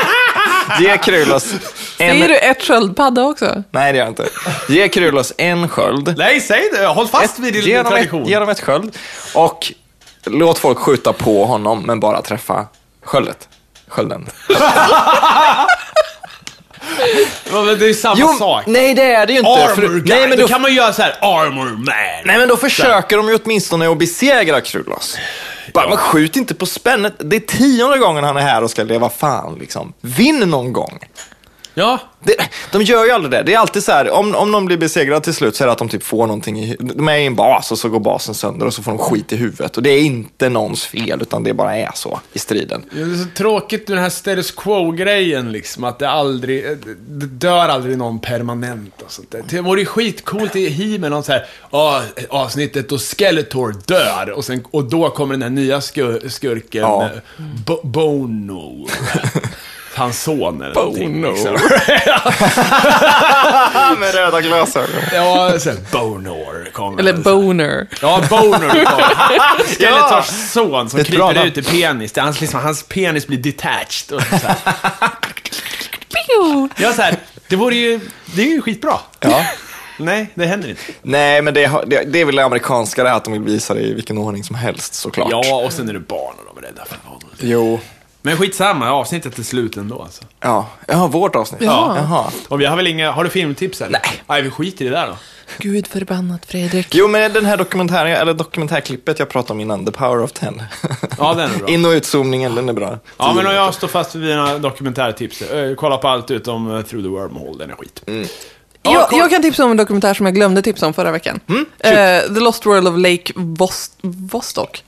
Speaker 2: ge Krulos en...
Speaker 3: Säger du ett sköldpadda också?
Speaker 2: Nej, det gör jag inte. Ge Krulos en sköld.
Speaker 1: Nej, säg det. Håll fast vid din
Speaker 2: ge, honom
Speaker 1: tradition.
Speaker 2: ett, ge honom ett sköld. Och låt folk skjuta på honom, men bara träffa sköldet. Skölden.
Speaker 1: Ja, men det är ju samma sak.
Speaker 2: nej det är det ju inte.
Speaker 1: Armor guy.
Speaker 2: nej, men
Speaker 1: då
Speaker 2: då,
Speaker 1: kan man göra så här, armor man.
Speaker 2: nej, men då försöker de ju åtminstone att besegra Krulos. Bara, men skjut inte på spännet. Det är tionde gången han är här och ska leva fan liksom. Vinn någon gång.
Speaker 1: Ja.
Speaker 2: Det, de gör ju aldrig det. Det är alltid så här, om, om de blir besegrade till slut så är det att de typ får någonting i De är i en bas och så går basen sönder och så får de skit i huvudet. Och det är inte någons fel, utan det bara är så i striden.
Speaker 1: Det är så tråkigt med den här status quo-grejen liksom, att det aldrig, eh, det dör aldrig någon permanent och sånt där. Det vore ju skitcoolt i He-Man, någon så här, "Ah, avsnittet då Skeletor dör och, sen, och då kommer den här nya skur, skurken,
Speaker 2: Ja.
Speaker 1: eh, Bo- Bono. Hans son eller någonting.
Speaker 2: Bono.
Speaker 1: liksom.
Speaker 2: Med röda glasögon.
Speaker 1: Ja, så här, Bonor kommer.
Speaker 3: Eller boner.
Speaker 1: Ja, Boner kom.
Speaker 2: Ja.
Speaker 1: Skeletors son som
Speaker 2: Ett bra
Speaker 1: kryper
Speaker 2: namn.
Speaker 1: ut i penis. Det är hans, liksom, hans penis blir detached. Och så här.
Speaker 3: Pew!
Speaker 1: Jag så här, det vore ju, det är ju skitbra.
Speaker 2: Ja.
Speaker 1: Nej, det händer inte.
Speaker 2: Nej, men det, har- det, det är väl det amerikanska det här att de vill visa det i vilken ordning som helst såklart.
Speaker 1: Ja, och sen är det barn och de är rädda för honom.
Speaker 2: Jo.
Speaker 1: Men skitsamma, avsnittet är slut ändå alltså.
Speaker 2: Ja, Jaha, vårt avsnitt.
Speaker 3: Ja.
Speaker 2: Jaha.
Speaker 1: Och vi har väl inga, har du filmtips eller? Nej. Nej, vi skiter i det där då.
Speaker 3: Gud förbannat Fredrik.
Speaker 2: Jo, men den här dokumentären, eller dokumentärklippet jag pratade om innan, The Power of Ten.
Speaker 1: Ja, den är bra.
Speaker 2: In och utzoomningen, den är bra.
Speaker 1: Ja, men om jag står fast vid mina dokumentärtips. eh, Kolla på allt utom eh, Through the Wormhole, den är skit. Ja,
Speaker 3: Jag,
Speaker 1: kolla- Mm,
Speaker 3: jag kan tipsa om en dokumentär som jag glömde tipsa om förra veckan. Eh, The Lost World of Lake Vost- Vostok.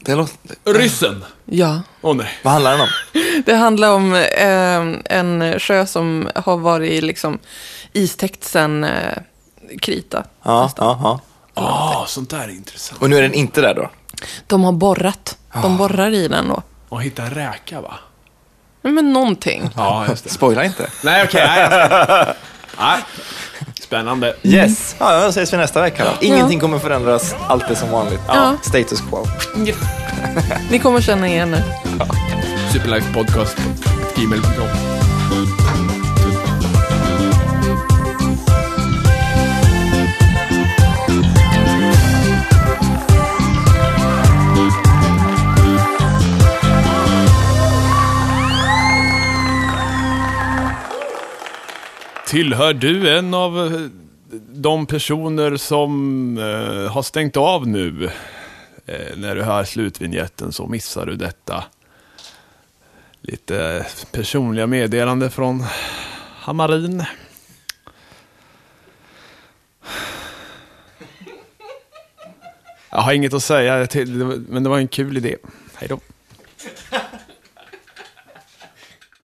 Speaker 2: Det låter...
Speaker 1: Ryssen!
Speaker 3: Ja.
Speaker 1: Åh nej.
Speaker 2: Vad handlar den om?
Speaker 3: Det handlar om eh, en sjö som har varit liksom istäckt sedan eh, krita.
Speaker 2: Ja, ja, ja.
Speaker 1: Ah, sånt där är intressant.
Speaker 2: Och nu är den inte där då?
Speaker 3: De har borrat.
Speaker 1: Ah.
Speaker 3: De borrar i den då.
Speaker 1: Och hitta en räka va?
Speaker 3: Nej, Men någonting.
Speaker 1: Ja, just det.
Speaker 2: Spoila inte.
Speaker 1: Nej, okej. nej, jag ska- nej. Spännande.
Speaker 2: Yes. Ja, då ses vi nästa vecka då. Ingenting kommer förändras, allt är som vanligt.
Speaker 3: Ja.
Speaker 2: Status quo.
Speaker 3: Ni kommer känna igen det.
Speaker 1: Superlife Podcast. Gmail.com. Tillhör du en av eh, de personer som eh, har stängt av nu? Eh, när du hör slutvinjetten så missar du detta. Lite personliga meddelande från Hammarin. Jag har inget att säga, till, men det var en kul idé. Hej då.